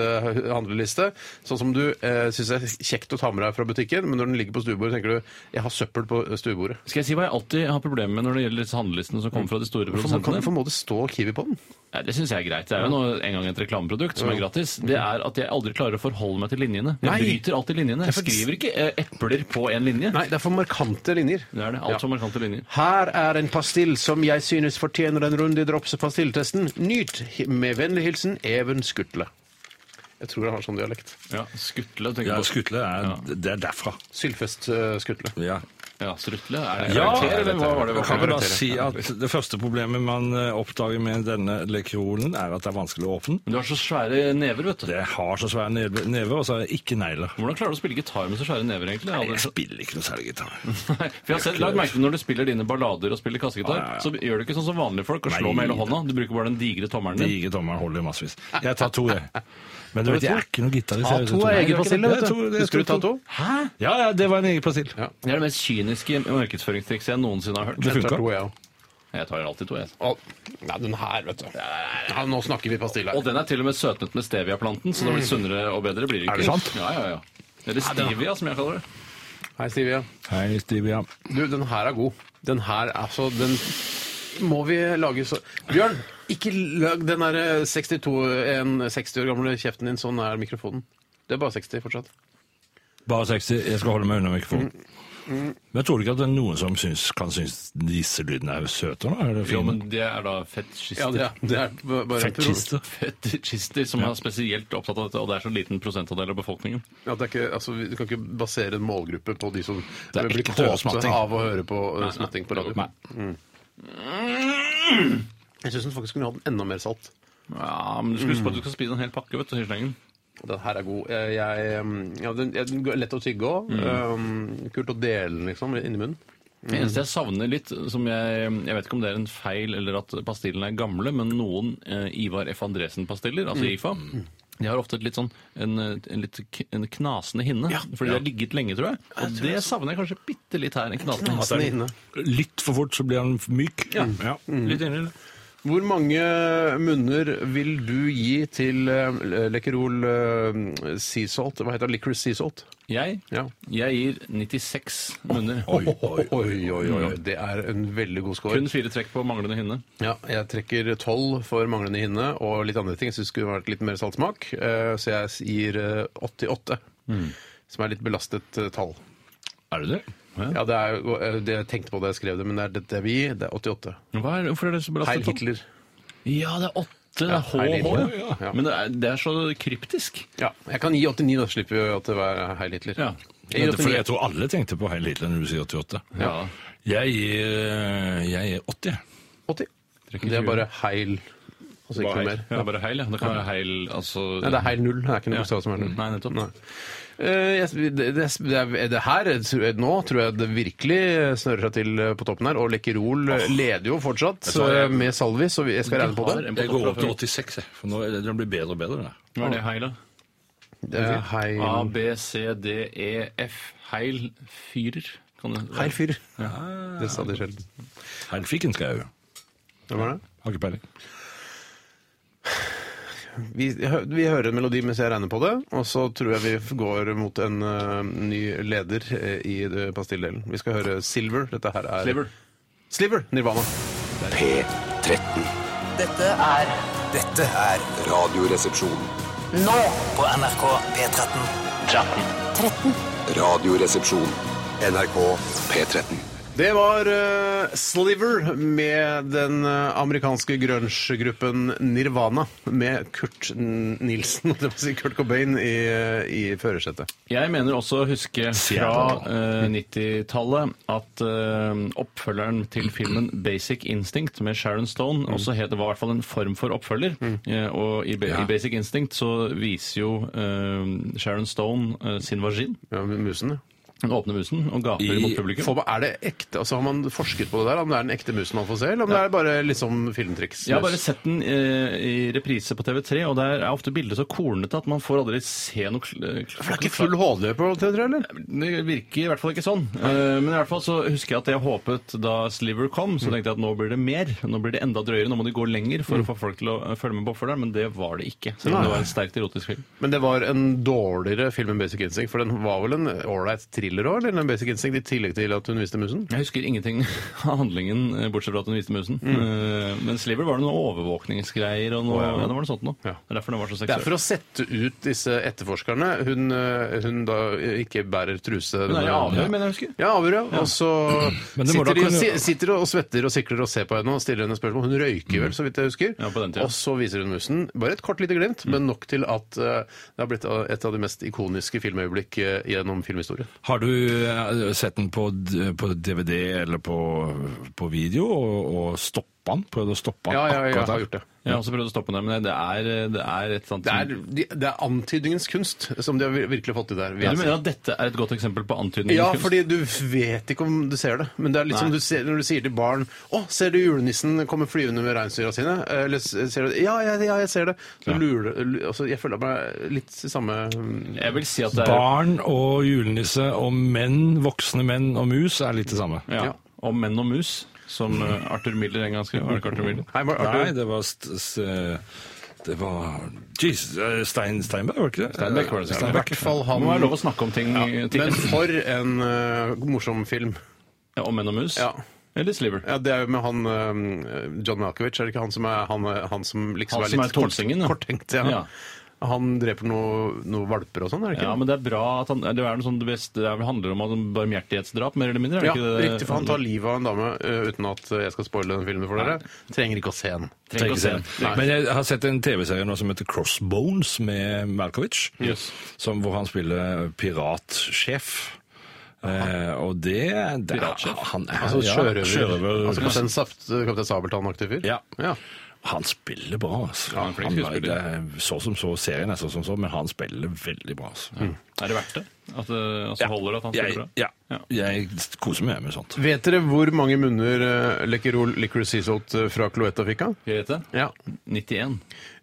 minipris-handleliste. Sånn som du eh, syns er kjekt å ta med deg fra butikken, men når den ligger på stuebordet, tenker du jeg har søppel på eh, stuebordet. Skal jeg si hva jeg alltid har problemer med når det gjelder disse handlelistene som kommer fra de store Hvorfor kan- produsentene? hvorfor må det stå Kiwi på den? Nei, det syns jeg er greit. Det er jo noe, en gang et reklameprodukt som er gratis. Det er at jeg aldri klarer å forholde meg til linjene. Jeg Nei. bryter alltid linjene. Jeg skriver ikke eh, epler på én linje. Nei, det er for markante linjer. Det er det. Alt som markante linjer. Her er en pastill som jeg synes fortjener en runde i dropsepastilltesten. Nyt med vennlig hilsen Even Skutle. Jeg tror han har sånn dialekt. Ja, Skutle, tenker Ja, jeg på. skutle er, det er derfra. Sylfest eh, Skutle. Ja. Ja, strutle? Er det Ja, karakter, eller hva var det? kan vi da si at det første problemet man eh, oppdager med denne lekrolen, er at det er vanskelig å åpne. Men Du har så svære never, vet du. Det har så svære neve, never, og så er det ikke negler. Hvordan klarer du å spille gitar med så svære never, egentlig? Jeg Jeg hadde- spiller ikke noe særlig gitar. Nei, for jeg har sett, lagt merke til Når du spiller dine ballader og spiller kassegitar, Ja, ja, ja. så gjør du ikke sånn som vanlige folk og slår Nei, med hele hånda. Du bruker bare den digre tommelen din. Digre tommelen holder i massevis. Jeg tar to, jeg. Men du vet, jeg er ikke noen gitarist. jeg, vet du. to er Nei, jeg egen ikke Basile, det. vet Jeg tror- du. jeg Husker du tror Tato? Ja, ja, det var en egen Brasil. Det er det mest kyniske markedsføringstrikset jeg noensinne har hørt. Det funka. To, ja. Jeg tar alltid to, jeg. Å, Nei, den her, vet du. Ja, nå snakker vi pastilla. Og den er til og med søtnet med steviaplanten, så det blir sunnere og bedre. blir det ikke. Er det sant? Ja, ja, ja. Eller stevia, som jeg kaller det. Hei, Stivia. Hei, Stevia. Du, den her er god. Den her, altså, den må vi lage så Bjørn, ikke lag den der 62, en 60 år gamle kjeften din så nær mikrofonen. Du er bare 60 fortsatt. Bare 60. Jeg skal holde meg unna mikrofonen. Men jeg tror ikke at det er noen som syns, kan synes disse lydene er søte? Da? Er det Jo, fine? men det er da fetisjister. Ja, det er, det er b- bare en pro- Fetisjister. Fetisjister som er spesielt opptatt av dette, og det er så liten prosentandel av befolkningen. Ja, det er ikke, altså, vi- du kan ikke basere en målgruppe på de som Det er blir ekkelt å høre kåte smatting. av å høre på uh, smatting på radio. Nei. Jeg syns faktisk kunne hatt den enda mer salt. Ja, men du skal huske på at du skal spise en hel pakke, vet du, Hirslengen. Den her er god. Jeg, jeg, um, ja, den, ja, den er lett å tygge òg. Um, kult å dele den liksom, inni munnen. Det eneste jeg savner litt, som jeg Jeg vet ikke om det er en feil eller at pastillene er gamle, men noen eh, Ivar F. Andresen-pastiller, Mm. altså IFA, de har ofte et litt sånn en, en litt k- en knasende hinne. Fordi de har ligget lenge, tror jeg. Og det savner jeg kanskje bitte litt her. En knasende hinne. Den er inne. Litt for fort, så blir han myk. Ja. Mm. Litt enig i det. Hvor mange munner vil du gi til um, Lekkerol um, sea salt? Hva heter det? Licorice sea salt? Jeg, Ja. jeg gir 96 munner. Oi, oi, oi, oi. Det er en veldig god score. Kun fire trekk på manglende hinne. Ja, jeg trekker tolv for manglende hinne og litt andre ting. Jeg syns det skulle vært litt mer saltsmak, eh, så jeg gir eh, 88. Mm. Som er litt belastet eh, tall. Er du det? Ja, det er jo eh, det jeg tenkte på da jeg skrev det, men det er dette er vi. Det er 88. Hva er, hvorfor er det så Heil belastet? Hitler. Ja, det er åtte. det er HH. Heil Hitler, ja. ja. Men det er, det er så kryptisk. Ja, jeg kan gi 89, da slipper vi at det er Heil Hitler. Ja. Jeg gir For jeg 89. tror alle tenkte på Heil Hitler når du sier 88. Ja. Jeg gir, jeg gir 80. 80. Det er bare Heil. Altså ikke noe mer. Det er bare heil, ja. Det kan være heil, altså Nei, det er heil null. Det er ikke noe Ja. bokstav som er null. Nei, nettopp. Eh, jeg- det, det, det, er- det her tror jeg- Nå tror jeg det virkelig snører seg til eh, på toppen her. Og Lekkerol eh, leder jo fortsatt eh, med Salvi, så vi- jeg skal regne på det. Jeg går opp til 86, jeg. For nå er det- den blir bedre og bedre. den der. Hva er det heil, da? Det er heil A, B, C, D, E, F. Heil fyrer. Kan det, Heil fyr. Det sa de sjelden. Heil fiken skal jeg jo. Hvem er det? Har ikke peiling. Vi, hø- vi hører en melodi mens jeg regner på det, og så tror jeg vi går mot en eh, ny leder eh, i eh, pastilledelen. Vi skal høre Silver. Dette her er Sliver. Sliver, Nirvana. P13. Dette er Dette er Radioresepsjon. nå på NRK P13. 13. Radioresepsjon. NRK P13. Det var eh, Sliver med den eh, amerikanske grunge-gruppen Nirvana med Kurt N- <laughs> Nilsen, det vil si Kurt Cobain, i, eh, i førersetet. Jeg mener også å huske fra eh, 90-tallet at eh, oppfølgeren til filmen Basic Instinct med Sharon Stone Mm. også het, var i hvert fall en form for oppfølger. Eh, og i, Ba- i Basic Instinct så viser jo eh, Sharon Stone eh, sin vagin. Ja, med musene. Hun åpner musen og gaper I- mot publikum. Får man, er det ekte, altså Har man forsket på det der, om det er den ekte musen man får se, eller om det er bare liksom filmtriks? Jeg har bare sett den eh, i reprise på TV3, og der er ofte bildet så kornete at man får aldri se noe kl- For det er ikke full HD på TV3, eller? Det virker i hvert fall ikke sånn. Eh, Men i hvert fall så husker jeg at jeg håpet da Sliver kom, Mm. så tenkte jeg at nå blir det mer. Nå blir det enda drøyere. Nå må de gå lenger for å få folk til å eh, følge med på oppfølgeren, men det var det ikke. Selv Nei. om det var en sterkt erotisk film. Men det var en dårligere film enn Basic Instinct, for den var vel en ålreit thriller òg, eller? Den Basic Instinct, I tillegg til at hun viste musen? Jeg husker ingenting <laughs> av handlingen, eh, bortsett fra at hun viste musen. Eh, Men Sliver var det noen overvåkningsgreier og noe, ja, det var noe sånt noe. Mm. Ja. Det er derfor den var så Det er seksuell. for å sette ut disse etterforskerne. Hun, eh, hun da ikke bærer truse. Hun er i avhør, mener jeg husker. Ja, avhør, ja. Og så Men det må da sitter, de, kunne- si- sitter og svetter og sikler og ser på henne og stiller henne spørsmål. Hun røyker Mm. vel, så vidt jeg husker. Ja, på den tiden. Mm. Og så viser hun musen. Bare et kort lite glimt, men nok til at eh, det har blitt eh, et av de mest ikoniske filmøyeblikk eh, gjennom filmhistorien. Har Har du eh, sett den på, d- på DVD eller på, på video og, og stoppa den? Prøvd å stoppe den Ja, ja, ja, jeg akkurat har der? gjort det. Jeg har også prøvd å stoppe det, men det er, det er et sånt Det er, de- det er antydningens kunst som de har vir- virkelig fått til der. vil Ja, jeg Du si. mener at dette er et godt eksempel på antydning? Ja, fordi du vet ikke om du ser det. Men det er litt som Nei. du ser, når du sier til barn 'Å, ser du julenissen komme flyvende med reinsdyra sine?' Eller s- ser du 'Ja, ja, ja, jeg ser det'. Så lurer du lu- altså, Jeg føler meg litt i samme Jeg vil si at det er Barn og julenisse og menn, voksne menn og mus er litt det samme. ja, om menn og mus, som eh, Arthur Miller en gang skrev. Var det ikke Arthur Miller? Hei, Mar- Nei, Arthur. det var st st Det var Jesus, eh, Stein Steinberg, var det ikke det? Steinbeck var det. Ja, I hvert fall han. Må være lov å snakke om ting eh, til. Men for en eh, morsom film. Ja, Om menn og mus? Ja. Eller Sliver? Ja, Det er jo med han eh, John Malkovich, er det ikke han som er han, eh, han som liksom Han er som litt er tolvsingen, ja. kort, korttenkt? Ja. Ja. Han dreper noen noe valper og sånn, er det ikke? Ja, men det er bra at han Det er noe sånn, det best- det er vel handler om at han barmhjertighetsdrap, mer eller mindre? er det ikke Ja, det? sånn- riktig, for han tar livet av en dame eh, uten at eh, jeg skal spoile den filmen for dere. Trenger ikke å se den. Trenger ikke å se den. Nei. Men jeg har sett en TV-serie nå som heter Crossbones med Malkovich, Yes. som, hvor han spiller piratsjef. Eh, og det, det Piratsjef? Han er Altså ja, sjørøver. sjørøver. Altså Kaptein Saft, eh, Kaptein Sabeltann-aktig fyr. Ja. ja. Han spiller bra, altså. han er flink skuespiller. det er så som så, serien er så som så, men han spiller veldig bra. Altså. Er det verdt det? At det altså, holder det at han jeg, spiller bra? ja. jeg koser meg med sånt. Vet dere hvor mange munner uh, Lecquerol Licorice Seasalt eh, fra Cloetta fikk han? Skal jeg gjette? Ja. 91.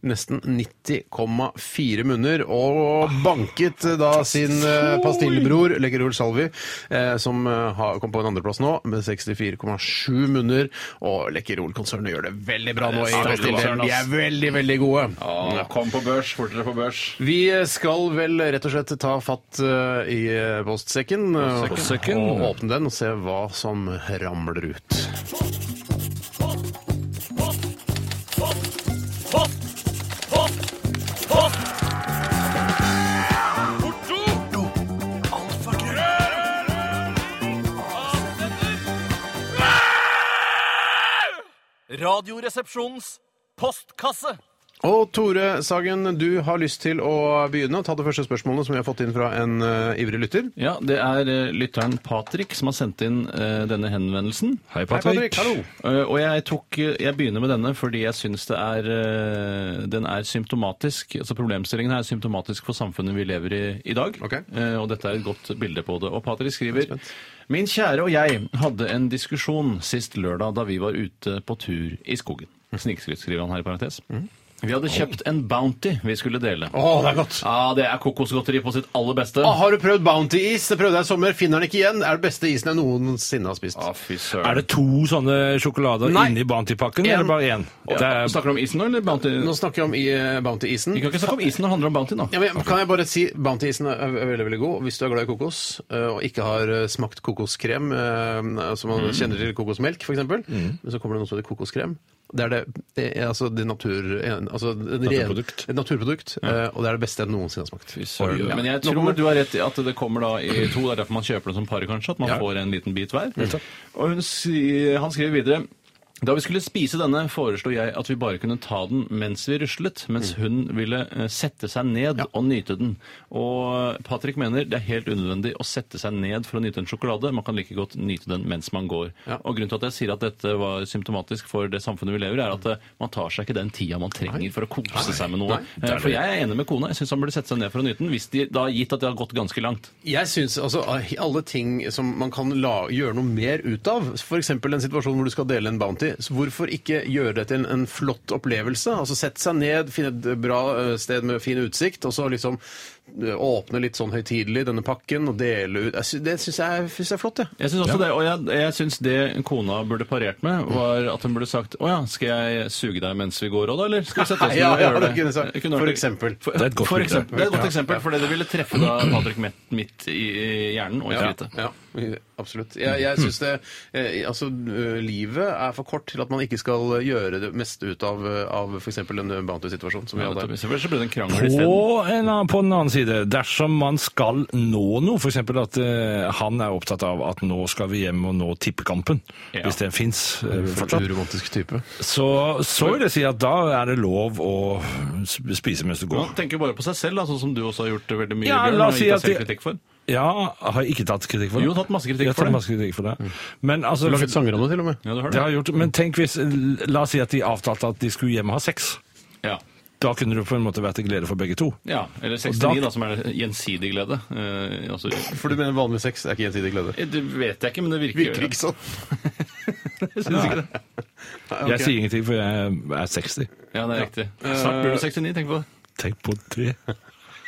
Nesten 90,4 munner, og banket eh, da Ah, sin eh, pastillbror Lecquerol Salvi, eh, som eh, har- kom på en andreplass nå, med 64,7 munner. Og Lecquerol-konsernet gjør det veldig bra nå. i Sterkt konsern, pastilldelen. De ass. er veldig, veldig gode. Ja, kom på børs, fortere på børs. Vi skal vel rett og slett ta fatt eh, i eh, postsekken, eh, Postsekken. og åpne den og se hva som ramler ut. Radioresepsjonens postkasse. Og Tore Sagen, du har lyst til å begynne og ta det første spørsmålet som vi har fått inn fra en eh, ivrig lytter. Ja, det er eh, lytteren Patrick som har sendt inn eh, denne henvendelsen. Hei, Patrick, hallo. Eh, og jeg, tok, eh, jeg begynner med denne fordi jeg syns det er, eh, den er symptomatisk. altså Problemstillingen er symptomatisk for samfunnet vi lever i i dag. Ok. Eh, og dette er et godt bilde på det. Og Patrick skriver Min kjære og jeg hadde en diskusjon sist lørdag da vi var ute på tur i skogen. Snikskryt skriver han her i parentes. Mm. Vi hadde kjøpt en Bounty vi skulle dele. Å, det er godt! Ja, det er kokosgodteri på sitt aller beste. Ah, har du prøvd Bounty-is? Det prøvde jeg i sommer. Finner den ikke igjen. Det er den beste isen jeg noensinne har spist. Ah, fy søren. Er det to sånne sjokolader Nei. inni Bounty-pakken, En. eller bare én? Det er Snakker du om isen nå, eller Bounty? Nå snakker jeg om i, eh, Bounty-isen. Vi kan ikke snakke om isen, det handler om Bounty nå. Ja, men Kan jeg bare si Bounty-isen er er veldig veldig god. Hvis du er glad i kokos eh, og ikke har eh, smakt kokoskrem, eh, som man kjenner til kokosmelk f.eks., men så kommer det noe som heter kokoskrem. Det er det, det er altså det natur... en- Altså en ren- Naturprodukt. Et naturprodukt. eh, Og det er det beste jeg noensinne har smakt. Fy søren. Men jeg tror du har rett i at det kommer da i to. Det er derfor man kjøper det som par, kanskje. At man får en liten bit hver. Og hun, si- han skriver videre da vi skulle spise denne, foreslo jeg at vi bare kunne ta den mens vi ruslet, mens hun ville eh, sette seg ned og nyte den. Og Patrick mener det er helt unødvendig å sette seg ned for å nyte en sjokolade. Man kan like godt nyte den mens man går. Ja. Og grunnen til at jeg sier at dette var symptomatisk for det samfunnet vi lever i, er at eh, man tar seg ikke den tida man trenger for å kose seg med noe. Eh, For jeg er enig med kona. Jeg syns han burde sette seg ned for å nyte den, hvis de da gitt at det har gått ganske langt. Jeg syns altså alle ting som man kan la, gjøre noe mer ut av, f.eks. en situasjon hvor du skal dele en bounty, så hvorfor ikke gjøre det til en, en flott opplevelse? Altså Sette seg ned, finne et bra eh, sted med fin utsikt, og så liksom eh, åpne litt sånn høytidelig denne pakken og dele ut Jeg sy- Det syns jeg, synes jeg er flott, jeg. Jeg synes også det, og jeg, jeg synes det kona burde parert med, var at hun burde sagt Å ja, skal jeg suge deg mens vi går òg, da, eller? Skal vi sette oss ned <laughs> Ja, og ja, gjøre det kunne jeg sagt. Kunne vært- For eksempel. For, Det er et godt for bilde. eksempel. Det er et godt eksempel, for det ville treffe da Patrick Mett midt i i hjernen og i skrittet. Ja, ja, absolutt. Jeg, jeg syns det eh, Altså, eh, livet er for kort til at man ikke skal gjøre det meste ut av, eh, av f.eks. en bounty-situasjon som vi Ja, hadde her. nettopp. Selvfølgelig så ble det en krangel isteden. på, en, annen- på den annen si det. Dersom man skal nå noe, f.eks. at eh, han er opptatt av at nå skal vi hjem og nå tippekampen, Ja. hvis den fins fortsatt, Uromantisk type. så, så vil jeg si at da er det lov å sp- spise mens du Man går. tenker bare på seg selv, da, sånn som du også har gjort veldig mye. Ja, Bjørn, la og oss si gitt deg at selv de- kritikk for. Ja, har jeg ikke tatt kritikk for det? Jo, tatt masse kritikk Jeg har for tatt det. Mm. masse kritikk for det. Men altså Laget sanger om det, til og med. Ja, du har det det. har jeg gjort, men tenk hvis La oss si at de avtalte at de skulle hjem og ha sex. Ja. Da kunne det på en måte vært til glede for begge to. ja. Eller Og 69, da- da, som er gjensidig glede. Eh, altså, For du mener vanlig sex er ikke gjensidig glede? Eh, det vet jeg ikke, men det virker, Virker ikke sånn. Jeg synes ikke det. Jeg sier ingenting, for jeg er 60. Ja, det er riktig. Snart blir du 69, tenk på det. Tenk på det.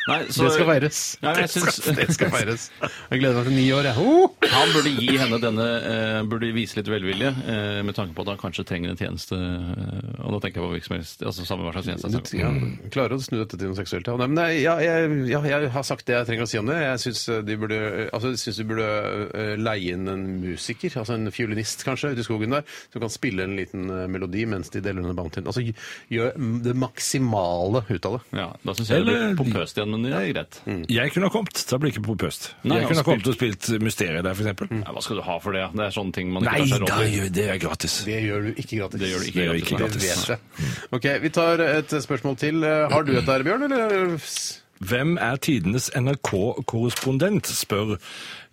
Nei, så- Det skal feires. Ja, men jeg synes, Det skal feires. Jeg gleder meg til ni år, jeg. Oh! <laughs> Han burde gi henne denne eh, Burde vise litt velvilje eh, med tanke på at han kanskje trenger en tjeneste. Eh, og da tenker jeg på hvilken som helst, altså samme hva slags tjeneste. jeg snakker om. Ja, klarer å snu dette til noe seksuelt. Ja. Nei, men jeg, ja, jeg, ja, jeg har sagt det jeg trenger å si om det. Jeg syns de burde, altså, jeg synes de burde eh, leie inn en musiker, altså en fiolinist kanskje, ute i skogen der, som kan spille en liten eh, melodi mens de deler under bounty. Altså gjør det maksimale ut av det. Ja, da syns jeg det Eller- Mm. blir pompøst igjen, men det er greit. Jeg kunne ha kommet. Da blir det ikke pompøst. Nei, Mm. Jeg han kunne ha kommet og spilt Mysteriet der, f.eks. Nei, hva skal du ha for det? Det er sånne ting man ikke tar seg råd til. det er gratis. Det gjør du ikke gratis. Det gjør du ikke. Det er jo ikke Det gratis. vet jeg. Ok, Vi tar et spørsmål til. Eh, Har du et der, Bjørn? Eller? Hvem er tidenes NRK-korrespondent, spør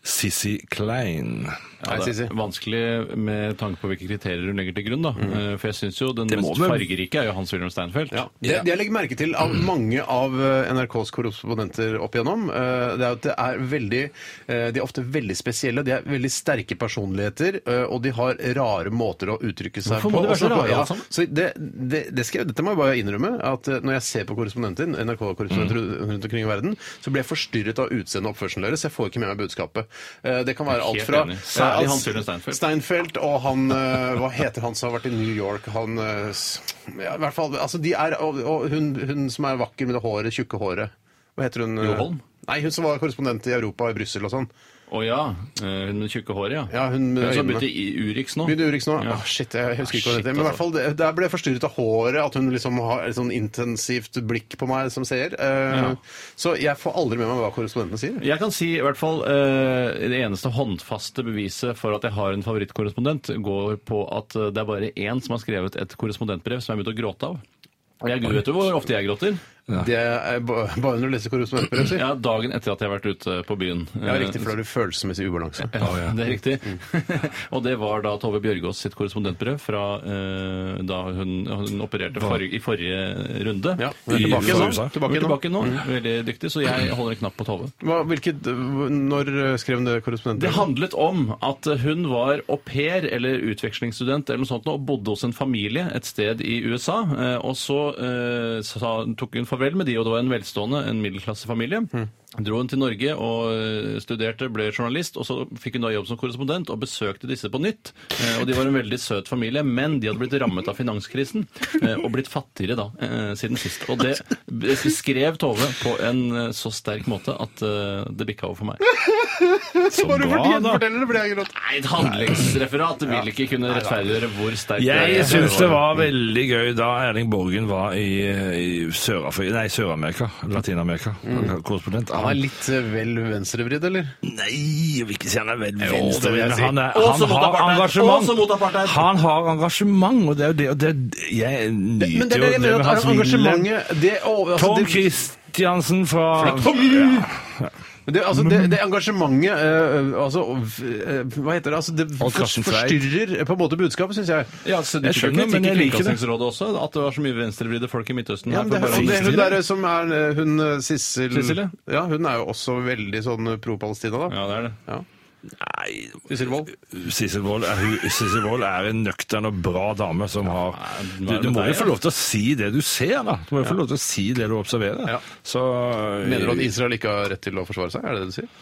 Sissy Klein. Ja, det Sissy. er vanskelig med tanke på hvilke kriterier hun legger til grunn. da. Eh, For jeg syns jo den Det må mest vel- fargerike er jo Hans-Wilhelm Steinfeld. Ja. Det, det jeg legger merke til av Mm. mange av eh, NRKs korrespondenter opp igjennom, eh, det er at det er veldig eh, De er ofte veldig spesielle. De er veldig sterke personligheter, eh, og de har rare måter å uttrykke seg Hvorfor må på. de være så Også på- rare, ja, alle sammen? så det, det, det skal, jeg- dette må jeg bare innrømme, at eh, når jeg ser på korrespondenter, Mm. NRK-korrespondenter rundt omkring i verden, så blir jeg forstyrret av utseendet og oppførselen deres. Jeg får ikke med meg budskapet. Eh, Det kan være alt Helt fra enig. Særlig eh, Hans Jørgen Steinfeld. Steinfeld og han eh, Hva heter han som har vært i New York? Han eh, s- ja, i hvert fall, altså de er, Og, og hun, hun som er vakker med det håret, tjukke håret. Hva heter hun? eh? Jo Holm? Nei, hun som var korrespondent i Europa, i Brussel og sånn. Å ja. eh, Hun med tjukke håret, ja. Ja, hun med som øynene. begynte i Urix nå. Begynner Urix nå? Ja. Åh, shit, jeg husker ikke hva Ah, shit, det heter. Men altså. i hvert fall, det- der ble jeg forstyrret av håret, at hun liksom har et sånn intensivt blikk på meg som seer. Eh, Ja. Så jeg får aldri med meg hva korrespondentene sier. Jeg kan si i hvert fall eh, det eneste håndfaste beviset for at jeg har en favorittkorrespondent, går på at eh, det er bare én som har skrevet et korrespondentbrev som jeg har begynt å gråte av. Og Jeg vet du hvor ofte jeg gråter? Det er ba- bare når du leser korrespondentbrev, sier. Ja, Dagen etter at jeg har vært ute på byen. Ja, riktig, for da er du følelsesmessig i ubalanse. Ja, det er riktig. Mm. <laughs> og det var da Tove Bjørgaas sitt korrespondentbrev fra eh, da hun, hun opererte forri- i forrige runde. Ja, hun er I tilbake USA. nå. Hun er Tilbake nå. Mm. tilbake nå. Veldig dyktig, så jeg holder en knapp på Tove. Hva, hvilket, eh, når skrev hun det korrespondenten? Det handlet om at hun var au pair eller utvekslingsstudent eller noe sånt, nå, og bodde hos en familie et sted i USA. eh, Og så eh, sa, tok hun farvel med de, og det var en velstående, en middelklassefamilie. Dro hun til Norge og eh, studerte, ble journalist, og så fikk hun da jobb som korrespondent og besøkte disse på nytt. Eh, Og de var en veldig søt familie, men de hadde blitt rammet av finanskrisen eh, og blitt fattigere da eh, siden sist. Og det det skrev Tove på en eh, så sterk måte at eh, det bikka over for meg. Så Bare fordi bra, jeg da. forteller det, ble jeg grått. Nei, et handlingsreferat vil ikke kunne rettferdiggjøre hvor sterkt Jeg syns det var veldig gøy da Erling Borgen var i, eh, i Sør-Afri- nei, Sør-Amerika, Latin-Amerika, korrespondent. Han er litt eh, vel venstrevridd, eller? Nei, jeg vil ikke si han er vel det vil jeg venstrevridd. si. Han, er- Også han mot har apartheid. Også mot engasjement. apartheid. Han har engasjement, og det er jo det, og det Jeg Men det nyter er det jeg jo mener, at hans vilje. engasjementet det, å, altså, Tom det, Kristiansen fra det, altså, det, det engasjementet eh, altså, eh, Hva heter det? Altså, det Og Karsten Frei. forstyrrer eh, på en måte budskapet, syns jeg. Ja, så du Jeg tror skjønner, ikke men jeg liker det. Kringkastingsrådet også, at det var så mye venstrevridde folk i Midtøsten. Ja, her men for det, bare er- og det er hun å- der som er eh, hun eh, Sissel Sissel, ja. Ja, hun er jo også veldig sånn eh, pro-Palestina, da. Ja, det er det. Ja. Nei, Sissel Wold. Sissel Wold er, hun- Sissel Wold er en nøktern og bra dame som har men hva Du, er det du med må jo deg, få da? lov til å si det du ser, da. Du må jo få lov til å si det du observerer. Ja. Så eh, Mener du at Israel ikke har rett til å forsvare seg? Er det det du sier?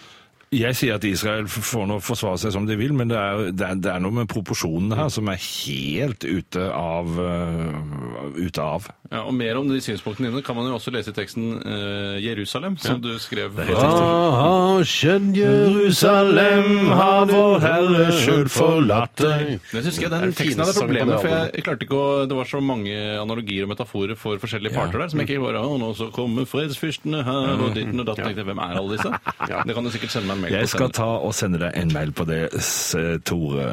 Jeg sier at Israel f- får nå forsvare seg som de vil, men det er, det er, det er noe med proporsjonene her som er helt ute av øh, Ute av. Ja, og mer om de synspunktene dine kan man jo også lese i teksten eh, Jerusalem, som du skrev. Aha, skjønn Jerusalem har vår Herre sjøl forlatt deg. Men jeg synes ikke den det teksten hadde fineste sangen problemet, på for det jeg, jeg klarte ikke å, det var så mange analogier og metaforer for forskjellige parter der, som jeg ikke bare, «Å, nå så kommer fredsfyrstene her, Mm. og ditten og datten, tenkte jeg, hvem er alle disse? Det kan du sikkert sende meg en mail Jeg på skal senere. ta og sende deg en mail på det, s- Tore.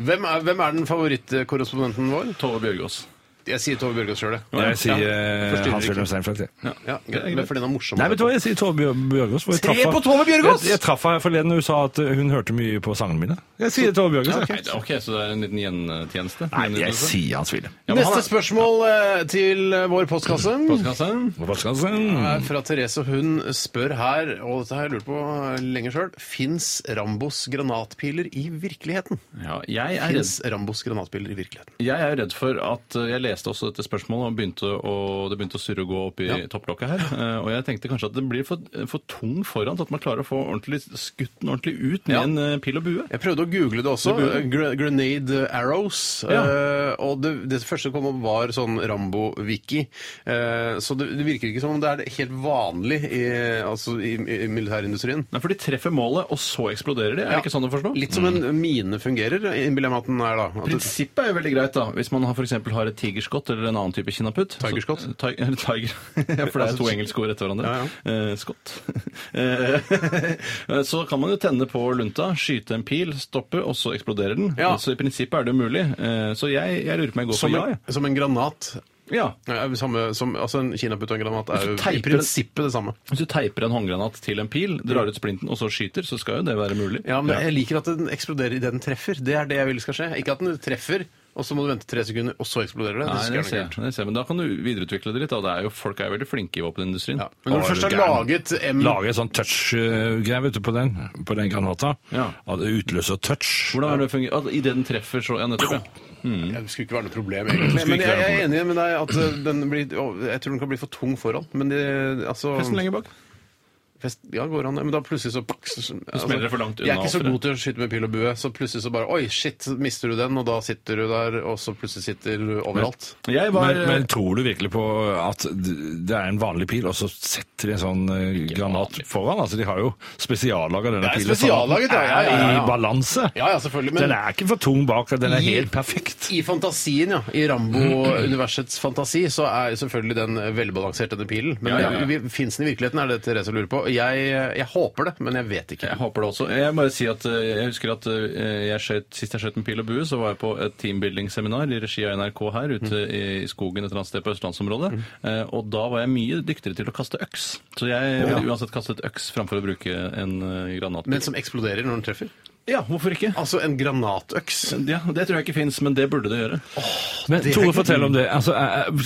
Hvem er, hvem er den favorittkorrespondenten vår? Tove Bjørgaas. Jeg sier Tove Bjørgaas sjøl, jeg. Jeg sier eh, forstyrrer ikke. Hans-Wilhelm Steinfeld. jeg. Ja, greit, men for den er morsom. Nei, vet du hva, jeg sier Tove Bjør Bjørgaas. for jeg Tre traff på henne- Tove Bjørgaas! Jeg, jeg traff henne her forleden, og hun sa at eh, hun hørte mye på sangene mine. Jeg sier Tove Bjørgaas. jeg. Nei, det- Ok, så det er en liten gjentjeneste? Nei, jeg sier Hans-Wilhelm. Neste spørsmål eh, til eh, vår postkasse spørsmål. Hva skal jeg si? er fra Therese. og Hun spør her, og dette har jeg lurt på eh, lenge sjøl, fins Rambos granatpiler i virkeligheten? Ja, jeg er redd Fins Rambos granatpiler i virkeligheten? Jeg er redd for at eh, jeg leste også dette spørsmålet, og begynte å, det begynte å surre og gå opp i topplokket her. <laughs> eh, Og jeg tenkte kanskje at den blir for, for tung foran til at man klarer å få ordentlig skutt den ordentlig ut med Ja. en eh, pil og bue. Jeg prøvde å google det også. eh, Gre- Grenade arrows. Eh, og det, det første som kom opp, var sånn Rambo-wiki. Eh, så det, det virker ikke som om det er helt vanlig i, altså i, i militærindustrien. Nei, for de treffer målet, og så eksploderer de. Er det ikke sånn å forstå? Litt som en mine fungerer, innbiller jeg meg at den er da. At det, Prinsippet er jo veldig greit, da. Hvis man har- for eksempel har et tigerskott eller en annen type kinnaputt. så- Tigerskott? Altså Eh, <laughs> ti- Eller tiger. ja, for det er to engelske ord etter hverandre. Ja, Eh, skott. <laughs> Eh, så kan man jo tenne på lunta, skyte en pil, stoppe, og så eksploderer den. Ja. Så i prinsippet er det jo mulig. Eh, så jeg, jeg lurer på om jeg går for som, ja. en, jeg. som en granat. ja. Ja, er det Samme, som, altså en kinaputt og en granat er Hvis du jo i teiper- prinsippet det samme. Hvis du teiper en håndgranat til en pil, drar ut splinten og så skyter, så skal jo det være mulig. Ja, men jeg liker at den eksploderer idet den treffer. Det er det jeg vil skal skje. Ikke at den treffer, og så må du vente tre sekunder, og så eksploderer det. Nei, synes jeg det er noe ser, kult. jeg, det ser, jeg. men Da kan du videreutvikle det litt. Da. Det er jo, folk er jo veldig flinke i våpenindustrien. Ja. Men når Å, du er først du har gæren? laget M... Lage sånn touch-greie vet du, på den, på den granata. Ja. At det utløser touch. Hvordan er det fungerer? Altså, Idet den treffer, så Ja, nettopp. Ja. Ja, Det skulle ikke være noe problem, egentlig. Skulle Men ikke jeg, være jeg noe er enig med deg at eh, den blir, å, jeg tror den kan bli for tung foran. Men det, altså Festen lenger bak. fest- Ja, går an. Men da plutselig så, så så- smeller det for langt Jeg er unna ikke så offeret. god til å skyte med pil og bue, så plutselig så bare Oi, shit, mister du den, og da sitter du der, og så plutselig sitter du overalt. Jeg var Men, men tror du virkelig på at d- det er en vanlig pil, og så setter de en sånn eh, granat foran? Altså, De har jo spesiallaga denne Det er pilen. sånn at den spesiallaget, ja, ja, ja, ja. er I balanse. Ja, ja, selvfølgelig, men- Den er ikke for tung bak, den er helt perfekt. I fantasien, ja. I Rambo-universets fantasi så er selvfølgelig den velbalansert, denne pilen. Men Ja, ja, ja. fins den i virkeligheten, er det Therese lurer på. Jeg, jeg håper det, men jeg vet ikke. jeg håper det også. Jeg må bare si at eh, jeg husker at eh, jeg skjøt, sist jeg skjøt med pil og bue, så var jeg på et teambuilding-seminar i regi av NRK her ute i skogen et eller annet sted på østlandsområdet. Eh, Og da var jeg mye dyktigere til å kaste øks. Så jeg ville uansett kastet øks framfor å bruke en eh, granat. Men som eksploderer når den treffer? ja, hvorfor ikke? Altså en granatøks. Ja, Det tror jeg ikke fins, men det burde det gjøre. Men det er Tore, ikke- fortell om det. Altså,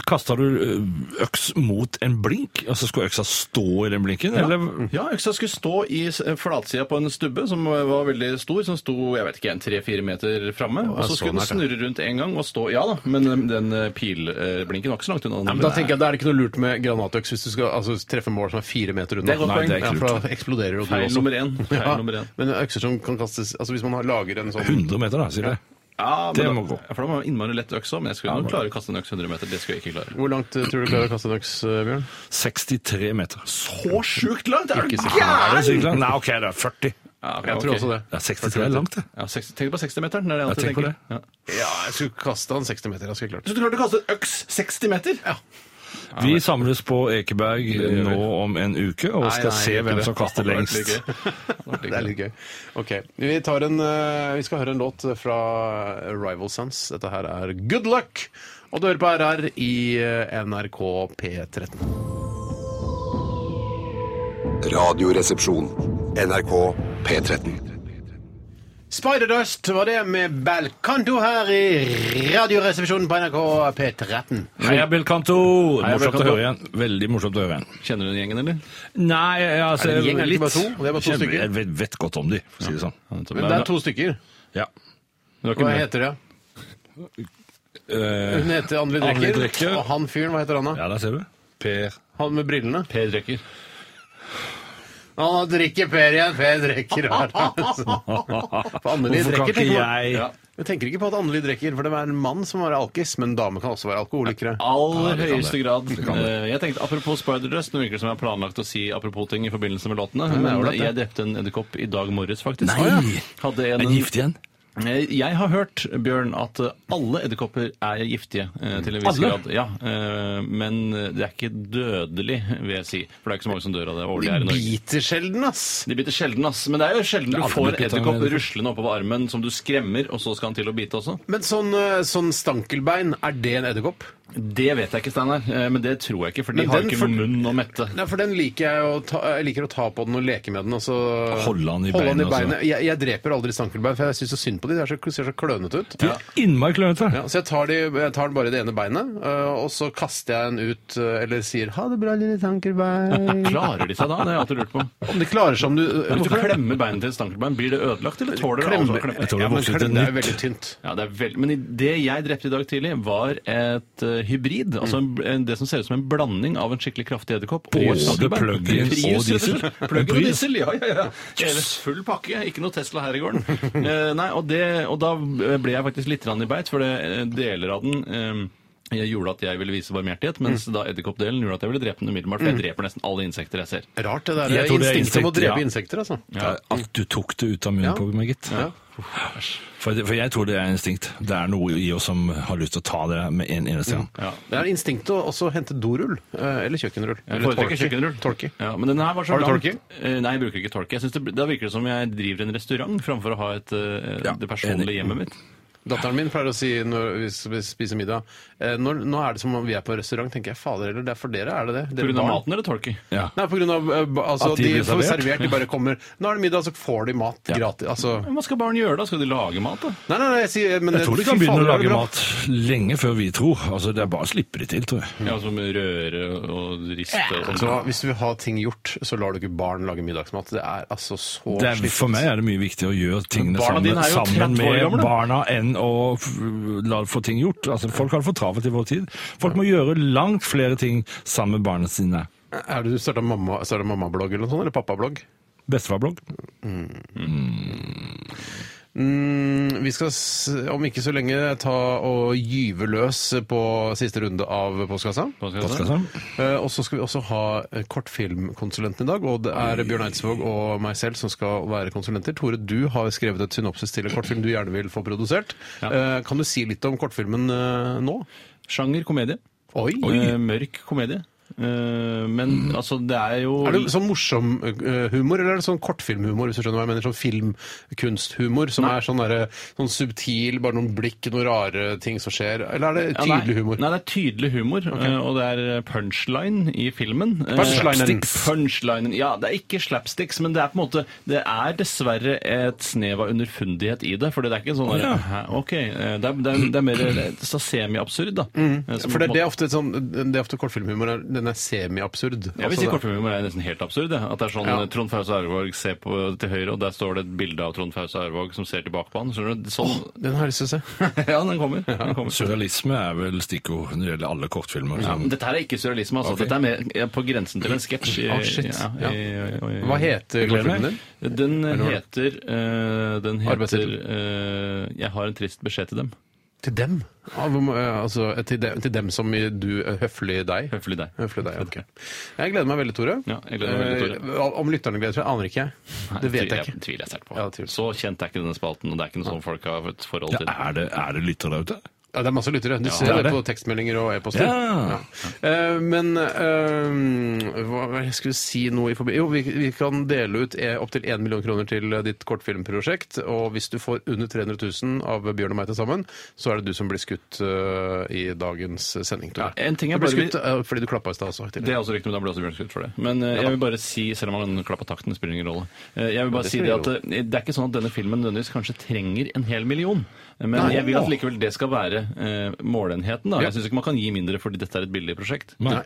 Kasta du eh, øks mot en blink, og så skulle øksa stå i den blinken? Eller? Ja, øksa skulle stå i s- flatsida på en stubbe som var veldig stor, som sto jeg vet ikke, en tre-fire meter framme. Og så så skulle den nært, ja. snurre rundt en gang og stå Ja da, men eh, den eh, pilblinken var ikke så langt unna. Ja, men da tenker jeg, da er det ikke noe lurt med granatøks hvis du skal altså, treffe mål som er fire meter unna. Det er godt Nei, poeng. det er ikke lurt. Ja, for da eksploderer jo du Feil også. nummer én. Feil nummer én. Men økser som kan kastes Altså hvis man har- lager en sånn 100 meter, da, sier jeg. ja, men Det da- må gå. ja, For da var det innmari lett øks òg, men jeg skulle nok klare å kaste en øks 100 meter. Det skulle jeg ikke klare. Hvor langt eh, tror du klarer å kaste en øks, eh, Bjørn? 63 meter. Så sjukt langt! Er Er du det gæren?! sykt langt? Nei, OK, det er 40. Ja, ok, Jeg tror ok. også det. Ja, 63 er langt, det. Ja, 60, tenk på 60-meteren. Det er det jeg alltid tenk på tenker. det. Ja. Ja, jeg skulle kaste han 60 meter. Jeg skulle klart Så du klarte å kaste en øks 60 meter? Ja. Vi samles på Ekeberg gjør vi. nå om en uke og skal nei, se gjør ikke hvem det. som kaster lengst. Det er litt gøy. Ok, Vi, tar en, eh, vi skal høre en låt fra Rival Sons. Dette her er Good Luck! Og du hører på RR i eh, NRK P13. Radioresepsjon. NRK P13. Spiderdust var det med Belcanto her i Radioresepsjonen på NRK P13. Heia Belcanto! Heia, Morsomt å Belcanto. høre igjen. Veldig morsomt å høre igjen. Kjenner du den gjengen, eller? Nei, altså Er det en gjeng, er det ikke bare to? Det er bare to Kjenner- stykker. Jeg vet, vet godt om de, for å si det sånn. Men det er to stykker. Ja. Hva heter det? Eh, Hun heter Anneli Anneli Drecker. Drecker. Og han fyren, hva heter han da? ja, der ser du. Per Han med brillene? Per Drekker. Nå drikker Per igjen. Per drikker <laughs> hver For Anneli Hvorfor kan drikker, ikke tenker man. jeg Ja. Jeg tenker ikke på at Anneli drikker, for det er en mann som er alkis, men damer kan også være alkoholikere. aller det kan høyeste det. grad. Det kan det. Eh, Jeg tenkte Apropos Spiderdress, det virker det som jeg har planlagt å si apropos ting i forbindelse med låtene. Men ålreit, det. jeg drepte en edderkopp i dag morges, faktisk. Nei! Å, ja. Hadde en, Er den gift igjen? Eh, Jeg har hørt, Bjørn, at eh, alle edderkopper er giftige eh, til en viss Alle? grad. Ja, eh, men det er ikke dødelig, vil jeg si. For det er ikke så mange som dør av det årlig De her i Norge. biter sjelden, ass! De biter sjelden, ass. Men det er jo sjelden du aldri får blitt bitt av en edderkopp edderkopp. ruslende oppover armen som du skremmer, og så skal han til å bite også. Men sånn, eh, sånn stankelbein, er det en edderkopp? Det vet jeg ikke, Steinar. eh, Men det tror jeg ikke, for de Men har den ikke for- noen munn å mette. Nei, for den liker jeg å ta, jeg liker å ta på den og leke med den. Og så Holde den i Holde den beinet, i beinet. Jeg, jeg dreper aldri stankelbein, for jeg syns så synd på de. De er så- ser så klønete ut. De er innmari klønete. Ja, så jeg tar, de, jeg tar den bare i det ene beinet, øh, og så kaster jeg den ut, øh, eller sier 'ha det bra, lille tankerbein'. Klarer de seg da? Det har jeg alltid lurt på. Om de klarer seg om du Hvis du klemmer beinet til en stankelbein, blir det ødelagt, eller tåler det Klemmer- altså å klemme? Jeg tror det Ja, men vokser ut klem- et det er nytt. veldig tynt. Ja, det er vel... Men i- det jeg drepte i dag tidlig, var et eh, hybrid. Altså en, en, det som ser ut som en blanding av en skikkelig kraftig edderkopp og Både et stankelbein. plug-in Prius, og rett diesel. slett. Plug-in og Prius. diesel, ja, ja, ja. Yes. Full pakke. Ikke noe Tesla her i gården. Eh, nei, og, det, og da ble jeg faktisk litt rann i beit, for det, eh, deler av den eh, gjorde at jeg ville vise barmhjertighet, mens Mm. da edderkoppdelen gjorde at jeg ville drepe den umiddelbart. For jeg dreper nesten alle insekter jeg ser. Rart det der Jeg tror det er instinktet om å insekter, drepe ja. insekter, altså. Ja, At du tok det ut av munnen Ja. på meg, gitt. Ja. For, for jeg tror det er instinkt. Det er noe i oss som har lyst til å ta det med en eneste gang. Ja. Det er instinktet å også hente dorull, øh, eller kjøkkenrull. Jeg Eller foretrekker torky. kjøkkenrull. Torky. Ja, men denne her var så Har du langt- torky? Eh, Nei, jeg bruker ikke torky. Jeg synes det, da virker det som jeg driver en restaurant framfor å ha et, eh, Ja, det personlige enig. hjemmet mitt. Datteren min pleier å si når vi s- vi spiser middag eh, når, 'Nå er det som om vi er på restaurant', tenker jeg. Fader heller, det er for dere, er det det? På Dere grunn av barn? maten eller torky? Ja. Nei, på grunn av eh, ba- altså, At de, de blir får servert? servert. De bare kommer 'Nå er det middag', så får de mat Ja. gratis. Altså, Men Hva skal barn gjøre da? Skal de lage mat, da? Nei, nei, nei, jeg sier men Jeg tror de fy kan begynne fader, å er det lage bra. mat lenge før vi tror. Altså, Det er bare å slippe det til, tror jeg. Ja, Som røre og riste og Så sånn. hvis du vil ha ting gjort, så lar du ikke barn lage middagsmat. Det er altså så Det er, slitsomt. for meg er det mye viktigere å gjøre tingene Barna sammen, dine er jo 30 sammen år med gamle. barna enn å f- la få ting gjort. Altså, Folk har det for travelt i vår tid. Folk må gjøre langt flere ting sammen med barna sine. Er det du starta mamma, startet mammablogg eller noe sånt, eller pappablogg? Bestefarblogg. Mm, vi skal s- om ikke så lenge ta og gyve løs på siste runde av Postkassa. Postkassa. Eh, Og så skal vi også ha eh, kortfilmkonsulenten i dag, og det er Bjørn Eidsvåg og meg selv som skal være konsulenter. Tore, du har skrevet et synopsis til en kortfilm du gjerne vil få produsert. Eh, Kan du si litt om kortfilmen eh, nå? Sjanger komedie. Oi! Mm. Eh, mørk komedie. Eh, men altså, det er jo Er det sånn morsom eh, humor, eller er det sånn kortfilmhumor? hvis du skjønner hva jeg mener, Sånn filmkunsthumor som er sånn, derre- sånn subtil, bare noen blikk, noen rare ting som skjer? Eller er det Ja, tydelig humor? Nei, det er tydelig humor, eh, og det er punchline i filmen. Eh, Punchlinen. slapsticks. Punchlinen. Ja, det er ikke slapsticks, men det er på en måte Det er dessverre et snev av underfundighet i det, for det er ikke sånn der, hæ, OK. eh, Det er, det er, det er mer eh, så semi-absurd, da. Eh, som Mm. For det, på en det, er måte- ofte sånn, det er ofte kortfilmhumor. er- Den er jeg semi-absurd. vil Altså, si det- kortfilmer er nesten helt absurd. jeg. At det er sånn Ja. eh, Trond Fause Arvåg ser på, til høyre, og der står det et bilde av Trond Fause Arvåg som ser tilbake på han. Skjønner du? Sånn. Den har jeg lyst til å se. <laughs> ja, den kommer. Den kommer. Surrealisme er vel stikkord når det gjelder alle kortfilmer. Ja, som- men dette her er ikke surrealisme, altså. Dette er mer eh, på grensen til en sketsj. Ah, shit. Ja, i- i- i- Hva heter gleder meg. kortfilmen din? Den heter eh, Den heter Arbeidstittel. eh, 'Jeg har en trist beskjed til dem'. Til dem? Ja, hvor må- eh, altså, til, dem til dem som i du eh, høflig deg? Høflig deg. Høflig deg, ok. Jeg gleder meg veldig, Tore. Ja, jeg gleder meg veldig, Eh, Om lytterne gleder seg, aner ikke jeg. Det vet jeg ikke. tviler jeg sterkt på. Ja, det tviler jeg. Så kjent er ikke denne spalten, og det er ikke noe sånn folk har et forhold Ja, til. er det, er det lyttere der ute? Ja, det er masse lyttere. Du ser det er det. det på tekstmeldinger og e-poster. Ja. Eh, men eh, hva var det jeg skulle si noe i forbi... Jo, vi, vi kan dele ut opptil 1 million kroner til eh, ditt kortfilmprosjekt. Og hvis du får under 300 000 av Bjørn og meg til sammen, så er det du som blir skutt eh, i dagens sending, Tore. Ja, en ting er du ble bare vi- skutt eh, fordi du klappa i stad også. Det er også riktig, men da ble også Bjørn skutt for det. Men eh, jeg vil bare si, selv om han klappa takten, det spiller ingen rolle. Eh, jeg vil bare det si det spiller at eh, det er ikke sånn at denne filmen nødvendigvis kanskje trenger en hel million. Eh, Men jeg vil at likevel det skal være eh, målenheten. da. Ja. Jeg syns ikke man kan gi mindre fordi dette er et billig prosjekt. Nei.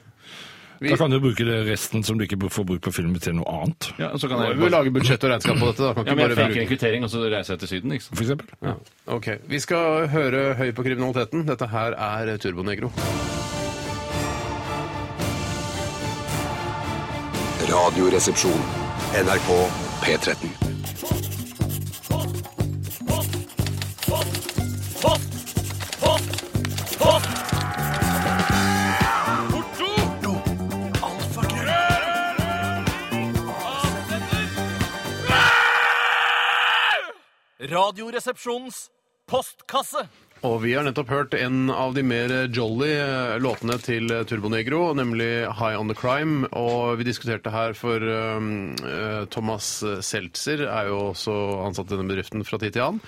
Da kan du bruke det resten som du ikke får bruk på filmen, til noe annet. Ja, så kan Nå jeg må vi bare... lage budsjett og regnskap på dette. da. Kan Ja, ikke men jeg bare fikk en bruke... kvittering, og så reiser jeg til Syden. ikke sant? For eksempel. Ok, Vi skal høre Høy på kriminaliteten. Dette her er Turbonegro. Radioresepsjon. NRK P13. Radioresepsjonens postkasse. Og vi har nettopp hørt en av de mer jolly eh, låtene til Turbonegro, nemlig High On The Crime. Og vi diskuterte her for um, eh, Thomas Seltzer er jo også ansatt i denne bedriften fra tid til annen.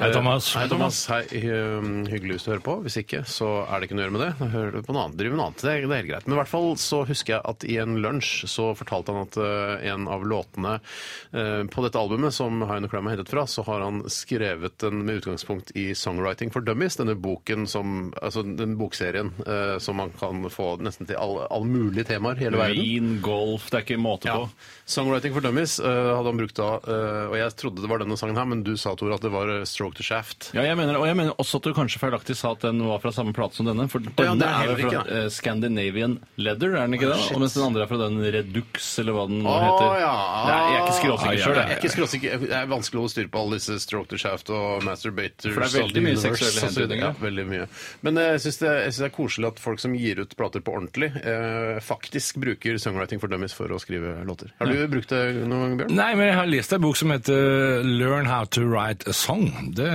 Hei, Eh, Thomas. Hei, Thomas. Hei, um, hyggelig hvis du hører på. Hvis ikke, så er det ikke noe å gjøre med det. Da Hører du på noe annet, driver med noe annet. Det er, det er helt greit. Men i hvert fall så husker jeg at i en lunsj så fortalte han at eh, en av låtene eh, på dette albumet som High On The Crime er hentet fra, så har han skrevet den med utgangspunkt i Songwriting for Dummies, denne boken som, altså den bokserien eh, som man kan få nesten til alle all mulige temaer i hele verden. Vin, golf, det er ikke måte på. Songwriting for Dummies eh, hadde han brukt da, eh, og jeg trodde det var denne sangen her, men du sa, Tor, at det var eh, Stroke to Shaft. Ja, jeg mener, og jeg mener også at du kanskje feilaktig sa at den var fra samme plate som denne. For ja, denne det er er heller jo fra ikke det. Ah, eh, Scandinavian Leather, er den ikke det? shit. Og mens den andre er fra den Redux, eller hva den nå Å, heter. ja. Nei, jeg er ikke Ah, skråsikker ja, sjøl, jeg er jeg. ikke skråsikker. Det er vanskelig å holde styr på alle disse stroke to shaft og masturbators. For det er veldig of the mye universe, seksuelle og så videre. hentydninger. Ja, veldig mye. Men eh, jeg syns det, jeg synes det er koselig at folk som gir ut plater på ordentlig, eh, faktisk bruker songwriting for dummies for å skrive låter. Har du brukt det noen gang, Bjørn? Nei, men jeg har lest en bok som heter eh, Learn How To Write A Song. Det,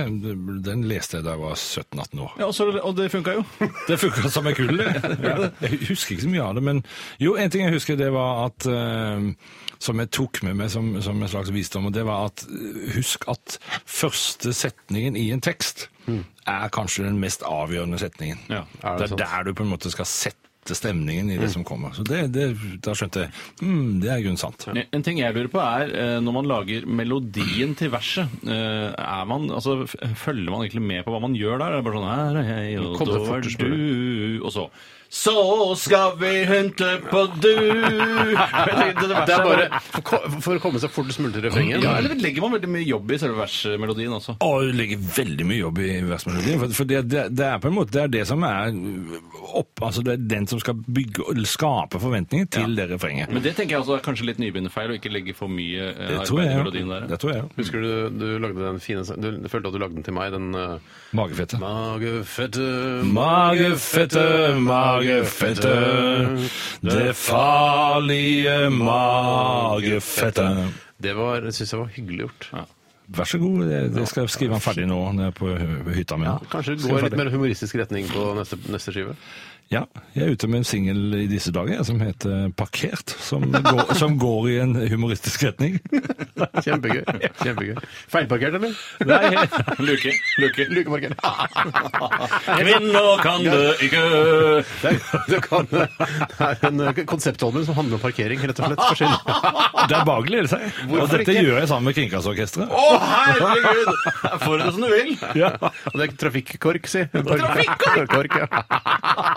den leste jeg da jeg var 17-18 år. Ja, og, så, og det funka jo. <laughs> Det funka som en kule. Jeg husker ikke så mye av det, men jo, en ting jeg husker, det var at eh, Som jeg tok med meg som, som en slags visdom, og det var at eh, husk at første setningen i en tekst er kanskje den mest avgjørende setningen. Ja, er det det er der du på en måte skal sette stemningen i det som kommer. Så det, det, Da skjønte jeg mm, Det er i grunnen sant. En ting jeg lurer på er, eh, når man lager melodien til verset, eh, er man, altså, f- følger man egentlig med på hva man gjør der? Er det bare sånn her er jeg, og Kom det da er fortest mulig. du Og så Så skal vi hente på du! Jeg tenkte, verset <laughs> Det er er bare for, ko- for å komme seg fortest mulig til refrenget. altså, Ja, eller legger man veldig mye jobb i selve versmelodien også? Og det ligger veldig mye jobb i versmelodien. For, for det, det, det er på en måte det, er det som er opp, altså det er den som skal bygge, eller skape forventninger til det refrenget. Men det tenker jeg også er kanskje litt nybegynnerfeil å ikke legge for mye eh, Det tror arbeid i jeg. melodien der. Det tror jeg. Husker du du lagde den fine sang- Du du følte at du lagde den til meg, den eh, Magefette. Magefette, Magefette, magefette, det farlige magefette. Det var, syns jeg var hyggelig gjort. Vær så god, jeg, jeg skal skrive den ferdig nå nede på hø- hytta mi. Kanskje Skal gå i jeg litt mer humoristisk retning på neste, neste skive? Ja, jeg er ute med en singel i disse dager jeg, som heter Parkert, som går, som går i en humoristisk retning. <laughs> Kjempegøy. Kjempegøy. Feilparkert, eller? <laughs> Nei, <laughs> luke. Luke. Lukemarkert. Kvinner kan det ikke Du kan, det er en eh, konseptalbum som handler om parkering, rett og slett. For skyld. <laughs> Det er bare å glede seg. og Hvorfor dette ikke? gjør jeg sammen med Kringkastorkesteret. Å, herregud! Får du det som du vil? Ja. Og det er trafikkork, si. Trafikkork! ja.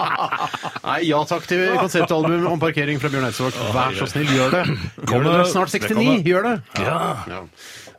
Nei, ja takk til konseptalbum om parkering fra Bjørn Eidsvåg. Vær så snill, gjør det. Gjør det. Du er snart 69, gjør det. Ja.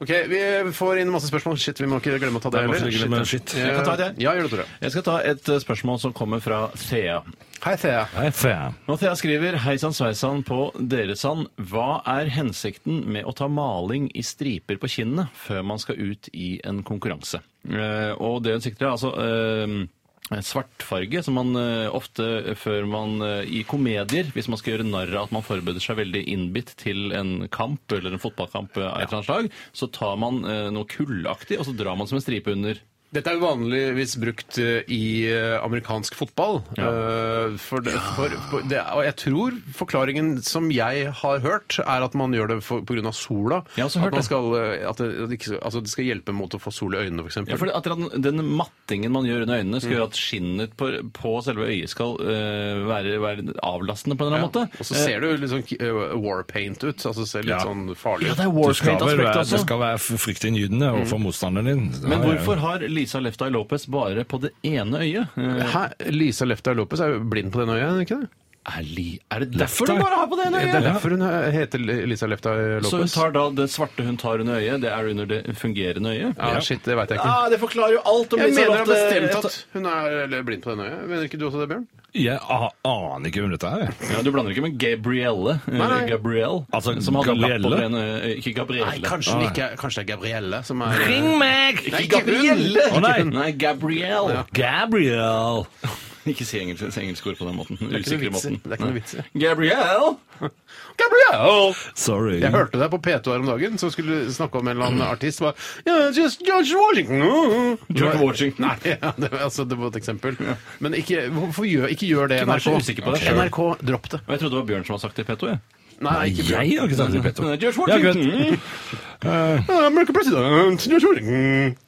OK, vi får inn masse spørsmål. Shit, vi må ikke glemme å ta det må ikke glemme heller. shit. Eh, Jeg kan ta det. Ja, gjør det, Tore. Jeg skal ta et eh, spørsmål som kommer fra Thea. Hei, Thea. Nei, faen. Og Thea skriver Hei sann sveisann på dere sann. Hva er hensikten med å ta maling i striper på kinnene før man skal ut i en konkurranse? Eh, og det hun sikter til, er altså eh, Svartfarge, som man eh, ofte før man eh, i komedier, hvis man skal gjøre narr av at man forbereder seg veldig innbitt til en kamp eller en fotballkamp eh, av et eller annet slag, så tar man eh, noe kullaktig, og så drar man som en stripe under. Dette er jo vanligvis brukt eh, i eh, amerikansk fotball. Eh, For det, for, for det, og jeg tror forklaringen som jeg har hørt, er at man gjør det pga. sola. Jeg har også hørt at, man det. skal, eh, at, det, at det ikke, skal- altså, det skal hjelpe mot å få sol i øynene, f.eks. Ja, for at den, den mattingen man gjør under øynene, skal gjøre at skinnet på, på selve øyet skal eh, være, være avlastende på en eller annen måte. Og så ser du litt sånn eh, war paint ut. Altså ser litt Ja. sånn Eh, farlig ja, det er ut. Det skal, vel warpaint-aspektet være, det også. skal være fryktinngytende overfor motstanderen din. Det Men har jeg- hvorfor har Lisa Leftai Lopez bare på det ene øyet? Eh, Hæ? Lisa Lefta Lopez er jo blind på det øyet, er hun ikke det? er li... Er det derfor du bare har på det ene Det øyet? er derfor hun eh, heter Lisa Leftøy Så hun Lopez. tar da det svarte hun tar under øyet, det er under det fungerende øyet? Ja, shit, det veit jeg ikke. Ah, det forklarer jo alt om Jeg Lisa mener da Lotte. bestemt at eh, hun er blind på det øyet. Mener ikke du også det, Bjørn? Jeg a- aner ikke hvem dette er. jeg. Ja, du blander ikke med Gabrielle, nei. eller Gabrielle, Altså, som hadde lapp på Gabrielle? det ene øyet. Ikke Gabrielle. kanskje, Ah. det er Gabrielle som er eh, meg! Ikke Gabrielle! Å, nei. nei, Gabrielle. Gabriel! <laughs> Ikke si engelsk, engelske ord på den måten. er ikke noe Usikre vits i. måten. Det er ikke noe Nei. vits i. Mm. Gabrielle! Gabrielle! <laughs> Sorry. Jeg hørte deg på P2 her om dagen, som skulle snakke om en eller annen artist. Bare, yeah, it's just George Washington. George Washington. Nei, <laughs> ja, det, var- altså, det var et eksempel. Men ikke, hvorfor gjør, ikke gjør det, Ikke vær NRK. så usikker på deg selv. NRK, dropp det. Og jeg trodde det var Bjørn som hadde sagt det i P2. jeg. Nei, ikke Jeg har ikke sagt det, Petter. Nei, George Ja, greit. Washington. Ah, American president, George Washington.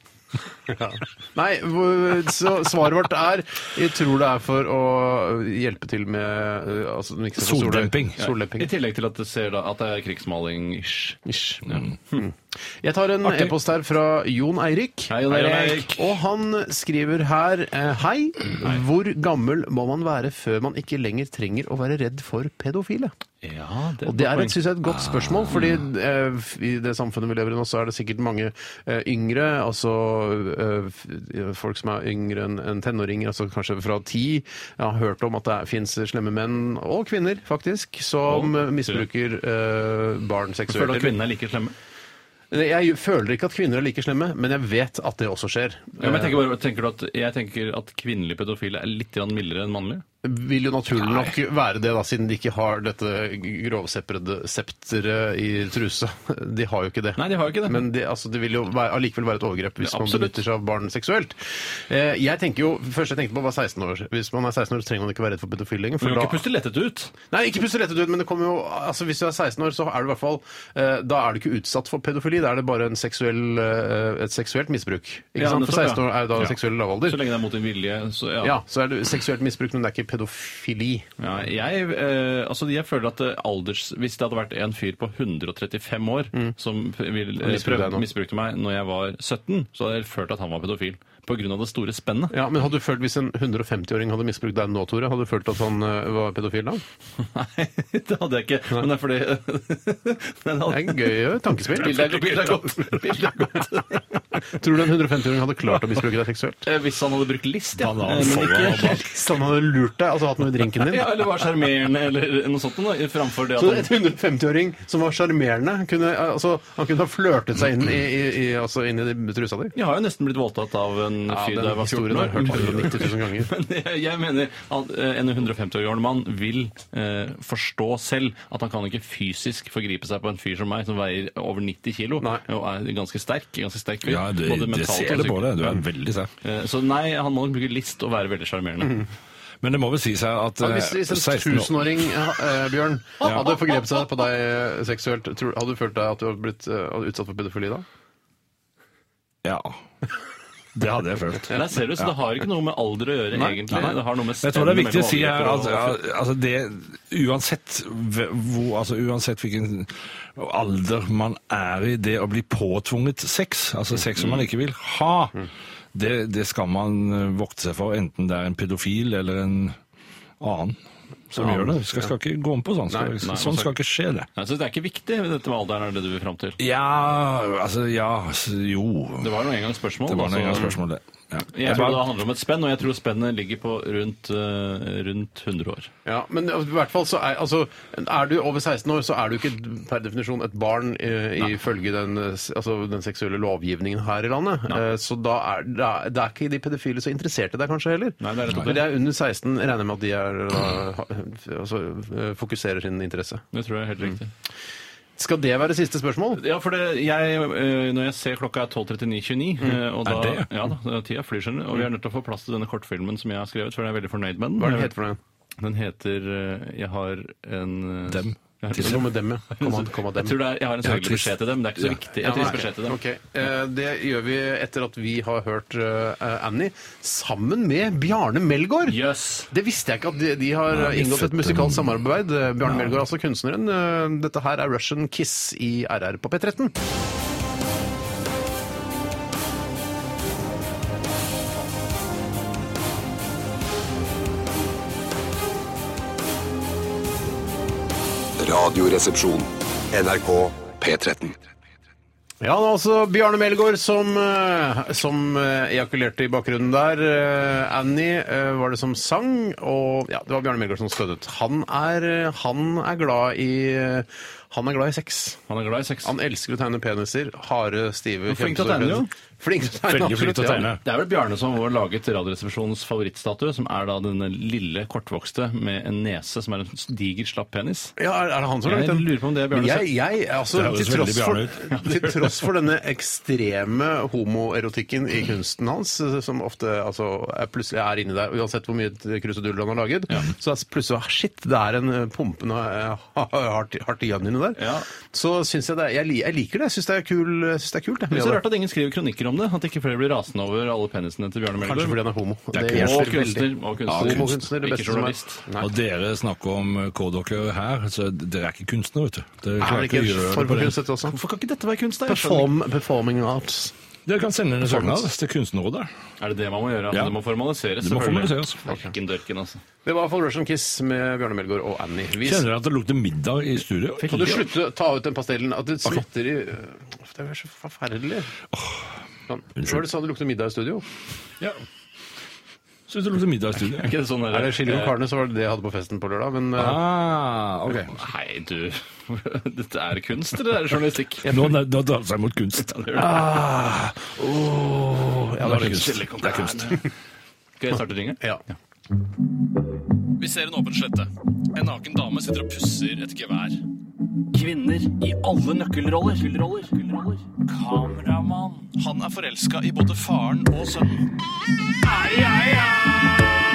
Ja. Nei, hvor- så svaret vårt er Jeg tror det er for å hjelpe til med eh, altså, den ikke skal få sol- Soldemping. I Soldemping. tillegg til at det, ser da, at det er krigsmaling-ish. Ish. Mm. Jeg tar en e-post her fra Jon Eirik. Hei, Jon Eirik. Og han skriver her eh, Hei, hvor gammel må man være før man ikke lenger trenger å være redd for pedofile? Ja, det, Og det er et, synes jeg, et godt Ah. spørsmål, fordi eh, f- i det samfunnet vi lever i nå, så er det sikkert mange eh, yngre, altså eh, f- eh, folk som er yngre enn enn tenåringer, altså kanskje fra ti. Jeg har hørt om at det fins slemme menn, og kvinner faktisk, som eh, misbruker eh, Føler barn du seksuelt. at kvinnene er like slemme? Jeg føler ikke at kvinner er like slemme, men jeg vet at det også skjer. Ja, men jeg tenker, bare, tenker du at, jeg tenker at kvinnelige pedofile er litt grann mildere enn mannlige. Eh, vil jo naturlig nok være det, da, siden de ikke har dette grovsepprede septeret i truse. <laughs> De har jo ikke det. Nei, de har jo ikke det. Men det, altså, det vil jo være, allikevel være et overgrep hvis Ja, man absolutt. benytter seg av barn seksuelt. Eh, jeg tenker jo, Først jeg tenkte på var 16 år. Hvis man er 16 år, så trenger man ikke være redd for pedofile lenger. Du For kan da, ikke puste lettet ut. nei, ikke puste lettet ut, men det kommer jo, altså, hvis du er 16 år, så er du i hvert fall eh, Da er du ikke utsatt for pedofili, da er det bare en seksuell, eh, et seksuelt misbruk. Ikke Ja, sant? nettopp, For 16 år ja. er jo da Ja. seksuell lavalder. Så lenge det er mot din vilje, så ja. Ja, så er det seksuelt misbruk, men det er ikke pedofili. Ja, jeg, eh, altså jeg føler at eh, alders, Hvis det hadde vært en fyr på 135 år som p- vil, eh, Misbrukte deg prøv, nå. misbrukte meg når jeg var 17, så hadde jeg følt at han var pedofil. På grunn av det store spennet. Ja, men hadde du følt Hvis en 150-åring hadde misbrukt deg nå, Tore, hadde du følt at han eh, var pedofil da? <laughs> Nei, det hadde jeg ikke. Men det er fordi <laughs> Men Det er en gøy eh, tankespill. Bildet er, bildet er godt. <laughs> Bildet er godt. Tror du en 150-åring hadde klart å misbruke deg seksuelt? Eh, Hvis han hadde brukt list, ja. Banan, Eh, Men folder, ikke Så han hadde lurt deg, altså hatt noe i drinken din? Ja, eller var sjarmerende, eller noe sånt. Da, framfor det at Så han et 150-åring som var sjarmerende, kunne, eh, altså, han kunne ha flørtet seg inn i, i, i, altså, inn i de- trusa di? Jeg har jo nesten blitt voldtatt av en fyr da jeg var 14 har jeg hørt år. Mm. 190 000 ganger. <laughs> Men jeg- jeg mener at eh, en 150 år gammel mann vil eh, forstå selv at han kan ikke fysisk forgripe seg på en fyr som meg, som veier over 90 kilo Nei. og er ganske sterk. ganske sterk fyr, Ja, du, både det mentalt ser og det på psykisk. deg. Du er veldig sterk. Eh, Så nei, han må bruke list og være veldig sjarmerende. Men det må vel si seg at Ja, eh, Hvis, hvis en 16 år 1000-åring, ja, eh, Bjørn, hadde forgrepet seg på deg eh, seksuelt, tror, hadde du følt deg at du hadde blitt eh, utsatt for pedofili da? Ja. <laughs> Det hadde jeg følt. Nei, ser du, så Det har ikke noe med alder å gjøre, egentlig. Det har noe med Jeg tror det er spenn viktig å si mellom her at overgrep og- ja, altså det, uansett, ve- hvor, altså uansett hvilken alder man er i, det å bli påtvunget sex, altså sex som man ikke vil ha, det, det skal man eh, vokte seg for, enten det er en pedofil eller en annen som gjør det. Skal, skal ikke gå om på sånn. Skal, Nei, nei, sånn skal ikke skje, det. Nei, Så det er ikke viktig, dette med alderen, er det du vil fram til? Ja, altså ja, s- jo. Det var noe engangsspørsmål. Det var noe altså. engang spørsmål, det. Ja. Jeg tror det handler om et spenn, og jeg tror spennet ligger på rundt, eh, rundt 100 år. Ja, men i hvert fall så er altså, Er du over 16 år, så er du ikke per definisjon et barn eh, ifølge den, eh, s- altså, den seksuelle lovgivningen her i landet. Eh, så da er, da, det er ikke de pedofile så interessert i deg kanskje heller. Nei, det er rett og slett. Men de er under 16, regner jeg med at de er, da, ha- altså, eh, fokuserer sin interesse. Det tror jeg er Mm. helt riktig. Skal det være siste spørsmål? Ja, for det, jeg, eh, når jeg ser klokka er 12.39,29 Mm. eh, og da, Er det? Ja da, det er tida flyr, skjønner du. Og vi er nødt til å få plass til denne kortfilmen som jeg har skrevet, for jeg er veldig fornøyd med den. Hva er det den heter for noe? Den heter eh, Jeg har en eh, Dem. Jeg har, Det er noe med dem, ja. Komma, komma jeg dem. tror det er, jeg har en har sørgelig trist. beskjed til dem. Det er ikke så viktig. Jeg har trist beskjed til dem. Ok, eh, Det gjør vi etter at vi har hørt eh, Annie sammen med Bjarne Melgaard. Jøss! Det visste jeg ikke at de, de har Nei, vi inngått et fødte- musikalsk samarbeid. Eh, Bjarne Melgaard, altså kunstneren. Eh, Dette her er Russian Kiss i RR på P13. Radioresepsjon. NRK P13. Ja, det er altså Bjarne Melgaard som, eh, som eh, ejakulerte i bakgrunnen der. Eh, Annie eh, var det som sang, og ja, det var Bjarne Melgaard som støttet. Han er, eh, han er glad i eh, han er glad i sex. Han er glad i sex. Han elsker å tegne peniser. Harde, stive er flink til å kjempestore tegne, jo. peniser. Flink til å tegne, Veldig flink til å absolutt, ja. tegne. Det er vel Bjarne som har laget Radioresepsjonens favorittstatue, som er da denne lille kortvokste med en nese som er en diger, slapp penis. Ja, er, er det han som Jeg laget den? lurer på om det er Bjarne jeg, jeg, altså, Det høres til, tross veldig Bjarne for, til tross for denne ekstreme homoerotikken i kunsten hans, som ofte altså, er plutselig er inni der, uansett hvor mye krusedull han har laget, så er plutselig ah, shit, det er en eh, pumpende eh, ha- hardt hardt igjen inni der. Ja. Så syns jeg det er jeg, li- jeg liker det. Jeg syns det er kul, jeg synes det er kult. Det Jeg, er så rart at ingen skriver kronikker om det, at ikke flere blir rasende over alle penisene til Bjarne Kanskje Melgaard. fordi han er homo. Det Og hjelper kunstner. veldig. Og Ja, kunstner. homokunstner, det ikke beste som er. journalist. Nei. Og dere snakker om hva dere her, så dere er ikke kunstnere, vet du. Dere Er klarer det ikke å ikke en gjøre form det på for det. kunst, dette også? Hvorfor kan ikke dette være kunst, da? Jeg skjønner Perform, performing arts. Dere kan sende en søknad til Kunstnerrådet. ikke. Er det det man må gjøre? Altså, Ja. Det må formaliseres, Det må selvfølgelig. formaliseres. Verken dørken, altså. Det var for Russian Kiss med Bjørne Melgaard og Annie. Vi Kjenner dere at det lukter middag i studio? kan du slutte å ta ut den pastellen? At det slutter i Uff, Det er så forferdelig. Sånn. Hva var det du sa det lukter middag i studio? Syns det lukter middag i studio? Er ikke det sånn der- Er det Skille om karene, så var det det jeg hadde på festen på lørdag. Men eh, Ah, ok. Nei, du <laughs> Dette er kunst, eller er det journalistikk? Nå, nå danser jeg mot kunst. Ja, det er kunst. Det er kunst. Skal jeg starte ringen? eh, ja. Vi ser en åpen slette. En naken dame sitter og pusser et gevær. Kvinner i alle nøkkelroller. Kameramann. Han er forelska i både faren og sønnen. Ai, ai,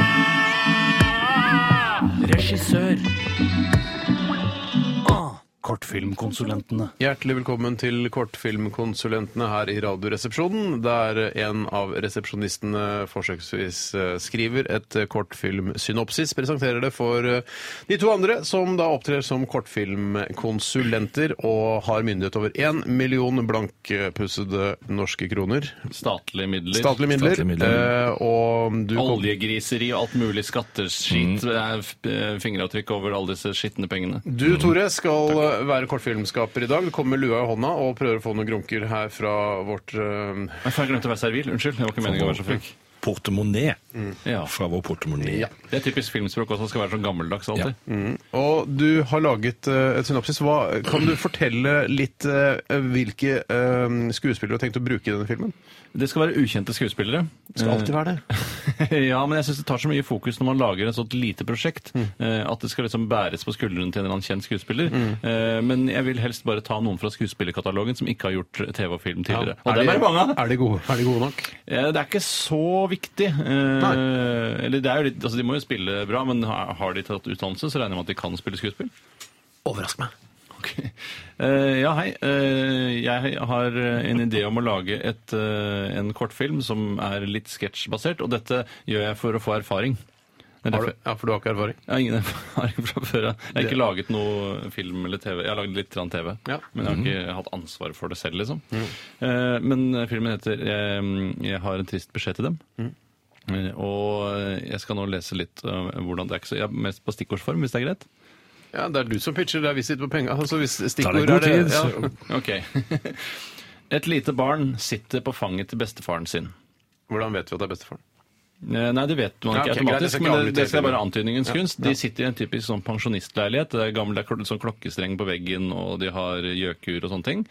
ai! Regissør. Ah, Kortfilmkonsulentene. Hjertelig velkommen til Kortfilmkonsulentene her i Radioresepsjonen, der en av resepsjonistene forsøksvis eh, skriver et eh, kortfilmsynopsis, presenterer det for eh, de to andre, som da opptrer som kortfilmkonsulenter og har myndighet over én million blankpussede norske kroner. Statlige midler. Statlige midler. Statlige midler. eh, Og du kom- Oljegriseri og alt mulig skatteskit. Det er f- eh, fingeravtrykk over alle disse skitne pengene. Du, Tore, skal eh, være kortfilmskaper i dag. Du kommer med lua i hånda og prøver å få noen grunker her fra vårt eh, Jeg faen, jeg glemte å være servil. Unnskyld. Det var ikke meningen å være så frekk. Portemonnaie. Ja. Fra vår portemonnaie. Ja. Det er typisk filmspråk også, skal være sånn gammeldags alltid. mm. Og du har laget eh, et synopsis. Hva, kan du fortelle litt eh, hvilke eh, skuespillere du har tenkt å bruke i denne filmen? Det skal være ukjente skuespillere. <laughs> Det skal alltid være det. ja, men jeg syns det tar så mye fokus når man lager et sånt lite prosjekt, eh, at det skal liksom bæres på skuldrene til en eller annen kjent skuespiller. Eh, men jeg vil helst bare ta noen fra skuespillerkatalogen som ikke har gjort TV og film tidligere. Og det er bare mange av. Er de gode, er de gode nok? Eh, Det er ikke så viktig. Eh, eller det er jo litt, altså De må jo spille bra, men ha- har de tatt utdannelse, så regner jeg med at de kan spille skuespill. Overrask meg. Ok. Eh, ja, hei. Eh, jeg har en idé om å lage et, eh, en kortfilm som er litt sketsjbasert, og dette gjør jeg for å få erfaring. Det er Har derfor- du, ja, for du har ikke erfaring? Jeg har ingen erfaring fra før. Jeg Jeg har ikke laget noe film eller TV. Jeg har lagd litt grann TV, Ja. Mhm. men jeg har ikke hatt ansvar for det selv, liksom. Eh, Men filmen heter eh, 'Jeg har en trist beskjed til dem'. Mhm. Eh, Og jeg skal nå lese litt eh, hvordan det er. ikke så- Jeg er mest på stikkordsform, hvis det er greit? Ja, Det er du som pitcher, det er vi sitter på penga. Altså, hvis Tar det stikkord god tid, ja. så Ok. <laughs> Et lite barn sitter på fanget til bestefaren sin. Hvordan vet vi at det er bestefaren? Eh, Nei, det vet man Ja, ikke ok, greit, jeg automatisk, skal ikke men det, det skal avbryte være hele. antydningens Ja, kunst. ja. De sitter i en typisk sånn pensjonistleilighet. Det er gammel det er kl- sånn klokkestreng på veggen, og de har gjøkur og sånne ting.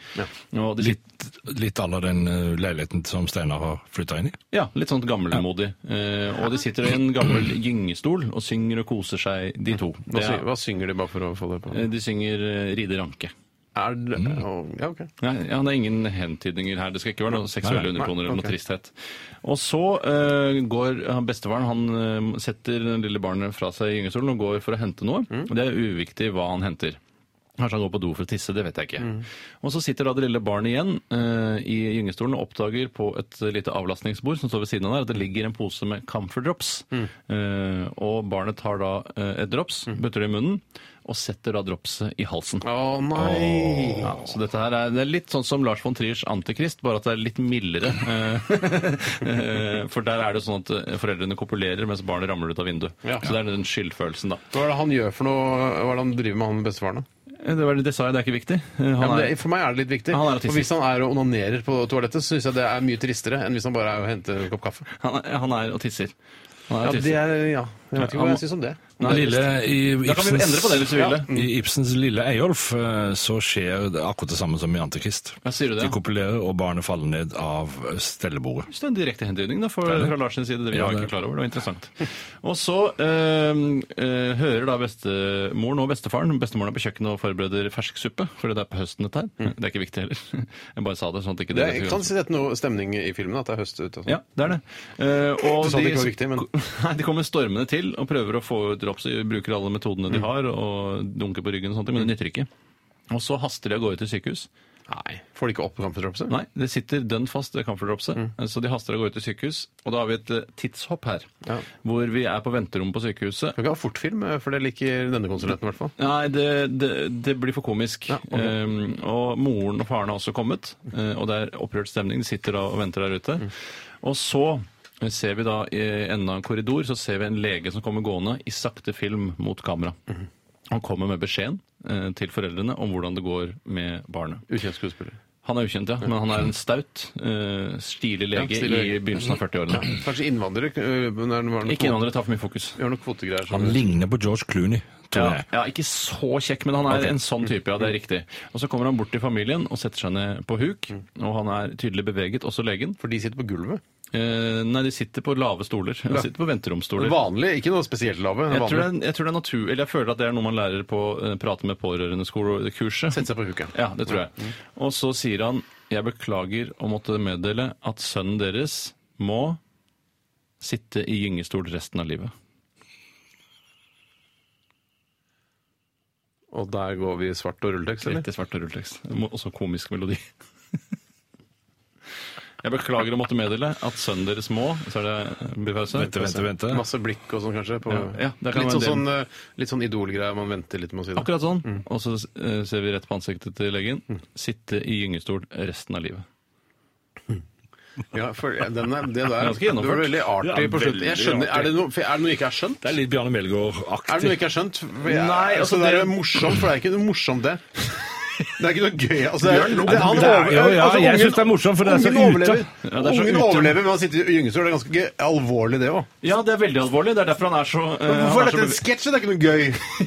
Og de sitter, Litt, litt à la den eh, leiligheten som Steinar har flytta inn i. ja, litt sånn gammelmodig. Eh, og de sitter i en gammel gyngestol og synger og koser seg, de to. Hva, Det synger, er, hva synger de bare for å få det på? eh, de synger eh, 'Ride ranke'. Er det, å, ja, ok. Nei, ja, det er ingen hentydninger her. Det skal ikke være noe seksuelle Nei, nei, undertoner eller ok. noe tristhet. Og så eh, går han bestefaren han eh, setter det lille barnet fra seg i gyngestolen og går for å hente noe. Mm. Og Det er uviktig hva han henter. Kanskje han går på do for å tisse, det vet jeg ikke. Mm. Og så sitter da det lille barnet igjen eh, i gyngestolen og oppdager på et lite avlastningsbord som står ved siden av der, at det ligger en pose med camphor drops. Mm. Eh, og barnet tar da eh, et drops, putter det i munnen, og setter da dropset i halsen. Å nei! Ja, så dette her er, det er litt sånn som Lars von Triers Antikrist, bare at det er litt <laughs> mildere. Eh, For der er det sånn at eh, foreldrene kopulerer mens barnet ramler ut av vinduet. Ja. Så det er den skyldfølelsen, da. Hva er det han gjør for noe? Hva er det han driver med, han bestefaren? da? Eh, det var det jeg sa, det er ikke viktig. Eh, Ja, Han men er, det, for meg er det litt viktig. Han er artist. for Hvis han er og onanerer på toalettet, så syns jeg det er mye tristere enn hvis han bare er og henter en kopp kaffe. han er, han er og tisser. Han er Ja, og det tisser. er, ja. Jeg vet ikke hva jeg syns om det. Nei, Lille, i, Da kan vi Ibsens- endre på det hvis vi vil det. Mm. I Ibsens Lille Eyolf eh, så skjer det akkurat det samme som i Antikrist. Ja, sier du det, De ja? kopulerer, og barnet faller ned av eh, stellebordet. Så det er en direkte hendyning da, for, det. fra Lars sin side. Det vi Ja, var det- ikke klar over. Det var interessant. Og så øhm, øh, hører da bestemoren og bestefaren Bestemoren er på kjøkkenet og forbereder fersksuppe, fordi det er på høsten dette her. Det er ikke viktig heller. <laughs> Jeg bare sa Mm. det sånn at ikke Det dere er, skulle- kan sette noe stemning i filmen at det er høst ute. og sånn. ja, det er det. Eh, og Du sa det ikke var viktig, men- <laughs> Nei, de kommer stormende til og prøver å få ut drops. De bruker alle metodene Mm. de har, og dunker på ryggen og sånt, men det nytter ikke. Og så haster de av gårde til sykehus. Nei. Får de ikke opp kampdropset? Nei, det sitter dønn fast, det camphordropset. Mm. Så de haster av gårde til sykehus. Og da har vi et eh, tidshopp her, Ja. hvor vi er på venterommet på sykehuset. Kan ikke ha fortfilm, eh, for det liker denne konsulenten i hvert fall. Nei, det, det, det blir for komisk. Ja, ok. Ehm, og moren og faren har også kommet, eh, og det er opprørt stemning. De sitter da og venter der ute. Mm. Og så eh, ser vi da i enden av en korridor så ser vi en lege som kommer gående i sakte film mot kamera. Mm-hmm. Han kommer med beskjeden eh, til foreldrene om hvordan det går med barnet. Ukjent skuespiller. Han er ukjent, ja. Men han er en staut, eh, stilig lege Ja, stilig i lege. Mm-hmm. begynnelsen av 40-årene. Kanskje innvandrere? øh, når det var noen Ikke kvote- innvandrere tar for mye fokus. Vi har noen kvotegreier. som- Han ligner på George Clooney, tror Ja, jeg. ja, ikke så kjekk, men han er en sånn type, ja, det Mm. er riktig. Og så kommer han bort til familien og setter seg ned på huk, Mm. og han er tydelig beveget, også legen. For de sitter på gulvet. Eh, nei, de sitter på lave stoler. De sitter på venteromsstoler. Vanlig, ikke noe spesielt lave. Jeg tror, det Vanlig. er, jeg tror det er natur... Eller jeg føler at det er noe man lærer på eh, prate med pårørendekurset. Sette seg på huk, ja. Mm. Ja, det tror jeg. Og så sier han jeg beklager å måtte meddele at sønnen deres må sitte i gyngestol resten av livet. Og der går vi i svart og rulletekst, eller? Litt i svart og rulletekst. Mo- Også komisk melodi. <laughs> Jeg beklager å måtte meddele at sønnen deres må Så er det blir pause. Vente, vente, vente. Masse blikk og sånn, kanskje? På, Ja, ja, det kan litt, være en sånn, sånn, øh, litt sånn idolgreie man venter litt med å si det. Akkurat sånn. Og så eh, ser vi rett på ansiktet til legen. Mm. Sitte i gyngestol resten av livet. Ja, for den er, det der Ganske det gjennomført. var veldig artig Ja, på slutten. veldig Jeg skjønner, artig. er, det noe, for er det noe ikke er skjønt? Det er litt Bjarne Er det noe Melgaard-aktig. ikke er skjønt? For jeg- Nei, altså, altså, det er det- morsomt, for det er ikke noe morsomt, det. Det er ikke noe gøy. Altså, det Bjørn lo. det- han Det er- over- ja, ja, altså, jeg ungen- synes det er morsomt, for det er så ungen ute. overlever. Ja, det er så ungen ute. overlever med å sitte i gyngestol. Det er ganske gøy- alvorlig, det òg. Ja, det er veldig alvorlig. Det er derfor han er så eh, Hvorfor han er er så dette en beve- sketsj? Det er ikke noe gøy.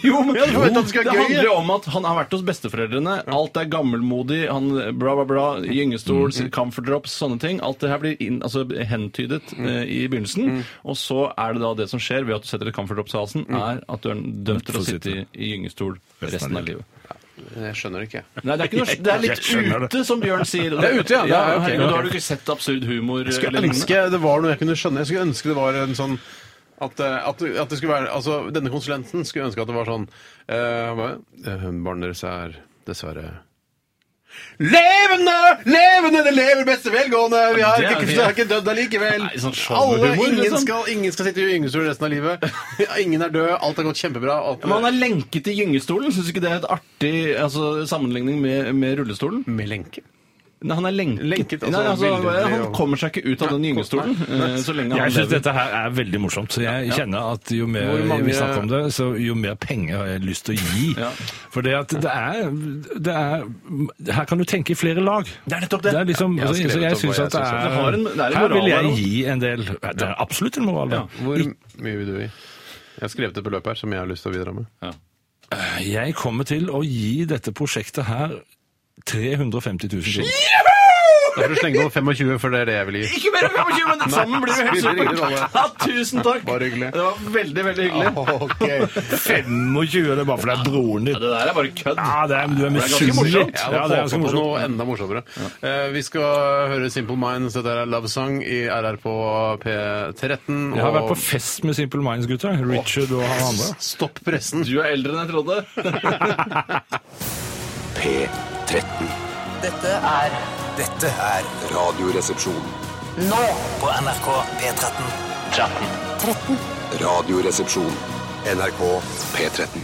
Jo, men Jeg hadde forventet at det skulle det være gøy, handler jeg. jo om at han har vært hos besteforeldrene. Alt er gammelmodig. han Bla, bla, bla. Gyngestol, Mm, comfort drops, sånne ting. Alt det her blir inn, altså, hentydet Mm. eh, i begynnelsen. Og så er det da det som skjer ved at du setter et comfort drops i halsen, Mm. er at du er dømt til å For sitte. sitte i, i gyngestol resten av livet. Jeg skjønner det ikke. Nei, <laughs> det er, ikke noe, det er litt ute, som Bjørn sier. Det er ute, ja. Det er- ok, herregud, Da ok. har du ikke sett absurd humor. Jeg skulle eller lignende. ønske det var noe jeg kunne skjønne. Jeg skulle ønske det var en sånn at, eh, at, at det skulle være, altså Denne konsulenten skulle ønske at det var sånn eh, han bare, eh, Barnet deres er dessverre Levende! Levende! Det lever beste velgående! Vi har Det er- ikke, det har ikke dødd allikevel! Nei, sånn showhumor, Alle, ingen, liksom. skal, ingen skal sitte i gyngestol resten av livet. Ingen er død. Alt har gått kjempebra. Alt, Ja, Men han er lenket i gyngestolen. Syns ikke det er et artig altså, sammenligning med, med rullestolen? med lenke. Nei, han er lenket. Lenket, altså, Nei, altså, billedlig han og- kommer seg ikke ut av den gyngestolen eh, så lenge Jeg han syns lever. dette her er veldig morsomt, så jeg kjenner at jo mer Hvor mange- vi snakker om det, så jo mer penger har jeg lyst til å gi. Ja. For det at det er, det er Her kan du tenke i flere lag. Det er nettopp det. er liksom, Ja, jeg har altså, så skrevet jeg opp hva syns jeg at det synes om det. Det er, har en- det er en Her vil moral jeg her også. gi en del Det er absolutt en moral. da. Hvor mye vil du gi? Jeg har skrevet et beløp her som jeg har lyst til å bidra med. Jeg kommer til å gi dette prosjektet her 350 000 kroner. Da får du slenge på 25, for det er det jeg vil gi. Ikke mer enn 25, men sammen blir det helt Spiller ingen supert! rolle. Ja, tusen takk! Bare hyggelig. Det var veldig, veldig hyggelig. <laughs> Ok. 25, det er bare for det er broren din. Ja, det der er bare kødd. Ja, det er, du er misunnelig. morsomt. Ja, Ja, det er ganske på morsomt. noe enda morsommere. Eh, vi skal høre Simple Minds. Dette er Love Song i RR på P13. Jeg har vært på og fest med Simple Minds, gutta. Richard og han andre. Stopp pressen. Du er eldre enn jeg trodde. P13. Dette er Dette er Radioresepsjon. Nå på NRK P13. Radioresepsjon. NRK P13.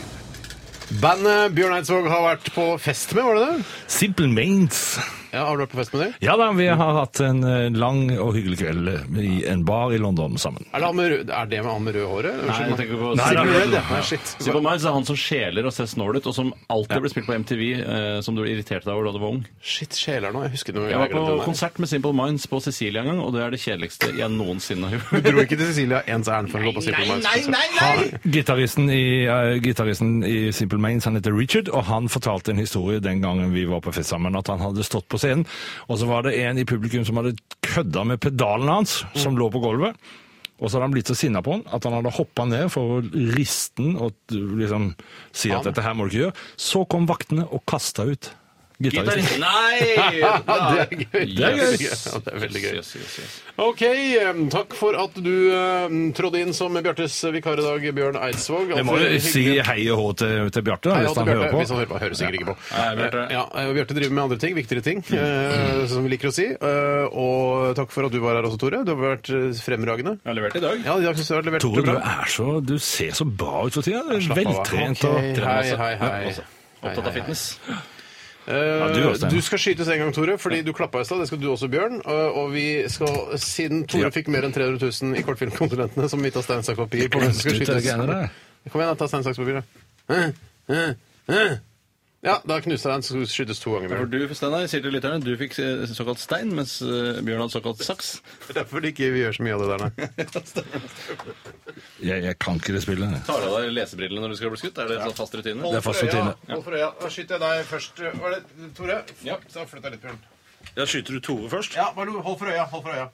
Bandet Bjørn Eidsvåg har vært på fest med, var det det? Simple Minds. Ja, har du vært på fest med dem? Ja da, vi har hatt en eh, lang og hyggelig kveld eh, i en bar i London sammen. Er det, han med rød, er det med han med rød håret? Nei, jeg tenker på Nei, Superman. det er det. Nei, shit. Se på meg, så er han som sjeler og ser snål ut, og som alltid ble spilt på MTV, eh, som du irriterte deg over da du var ung. Shit, sjeler nå. Jeg husker det. men Jeg var glemte på det. konsert med Simple Minds på Sicilia en gang, og det er det kjedeligste jeg noensinne har <laughs> Du gjort. dro ikke til Cecilia ens ærend for å gå på Simple Minds liksom. konsert? Gitaristen i, eh, gitaristen i Simple Mains, han heter Richard, og han fortalte en historie den gangen vi var på fest sammen, at han hadde stått på scenen, og så var det en i publikum som hadde kødda med pedalen hans, som lå på gulvet, og så hadde han blitt så sinna på han at han hadde hoppa ned for å riste den og t- liksom si at dette her må du ikke gjøre. Så kom vaktene og kasta ut gitaristen. Nei! Ja, det er gøy. Det er gøy. Ja, det er veldig gøy. Yes, yes, yes. Ok, em, takk for at du em, trådde inn som Bjartes vikar i dag, Bjørn Eidsvåg. Altså, Jeg må jo si hei og hå til, til Bjarte, da, Hei, hvis til han Bjarte, hører på. Hvis han hører på, hører sikkert ikke på. Nei, Bjarte. Ja, eh, Bjarte driver med andre ting, viktigere ting, Mm. eh, som vi liker å si. Eh, og takk for at du var her også, Tore. Du har vært eh, fremragende. Jeg har levert i dag. Ja, jeg synes du har levert Tore, du, bra. er så, du ser så bra ut for tida. Du er Slapp av, veltrent. ok. og... altså. Hei, hei, hei. Ja, også. Hei, Opptatt hei, av fitness. Eh, du også, Steinar. du skal skytes en gang, Tore, fordi du klappa i stad. Det skal du også, Bjørn. Eh, Og vi skal, siden Tore Ja. fikk mer enn 300 000 i kortfilmkonsulentene, som vi tar stein, saks, papir på hvem som skal Du tar skytes. greiene der. <laughs> Kom igjen, da, ta stein, saks, papir, da. Eh, eh, eh. Ja, da knuste jeg den, så skal du skytes to ganger, For Bjørn. du, Steinar, sier til lytterne, du fikk eh, såkalt stein, mens eh, Bjørn hadde såkalt <laughs> saks. Det er Derfor ikke vi gjør så mye av det der, nei. Jeg, jeg kan ikke det spillet. jeg. Tar du av deg lesebrillene når du skal bli skutt? Er det en sånn fast rutine? Det er fast rutine. Hold for øya. Da skyter jeg deg først. Var det Tore? Ja. Så flytt deg litt, Bjørn. Ja, skyter du Tore først? Ja, bare hold for øya. Hold for øya.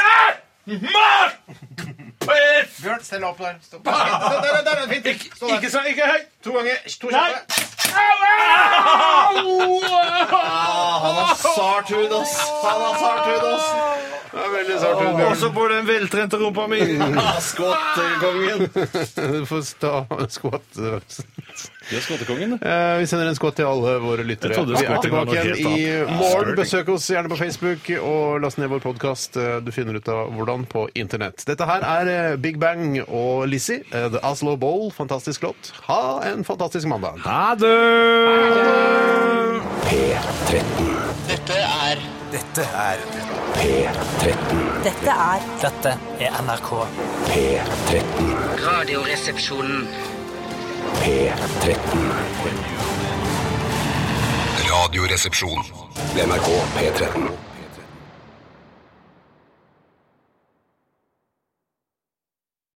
Ah! Bjørn, stell deg opp der. Stå. Der, der, der, der, fint. Stå der. Ah! Ikke, ikke høy. To ganger. To kjappe. Ah, Han har sart hud, ass! Han har sart hud, ass! Det er veldig sart ut, Bjørn. så på den veltrente rumpa mi! Skvattekongen! Du får ta skvatt. Du er skvattekongen, du. Eh, Vi sender en skvatt til alle våre lyttere. trodde Vi er skvatting var tilbake noe igjen i morgen. Besøk oss gjerne på Facebook og last ned vår podkast. Du finner ut av hvordan på internett. Dette her er eh, Big Bang og Lizzie. eh, The Oslo Bowl. Fantastisk låt. Ha en fantastisk mandag. Ha det! P13. Dette er P13. Dette er Dette er NRK. P13. Radioresepsjonen. P13. Radioresepsjon. NRK P13.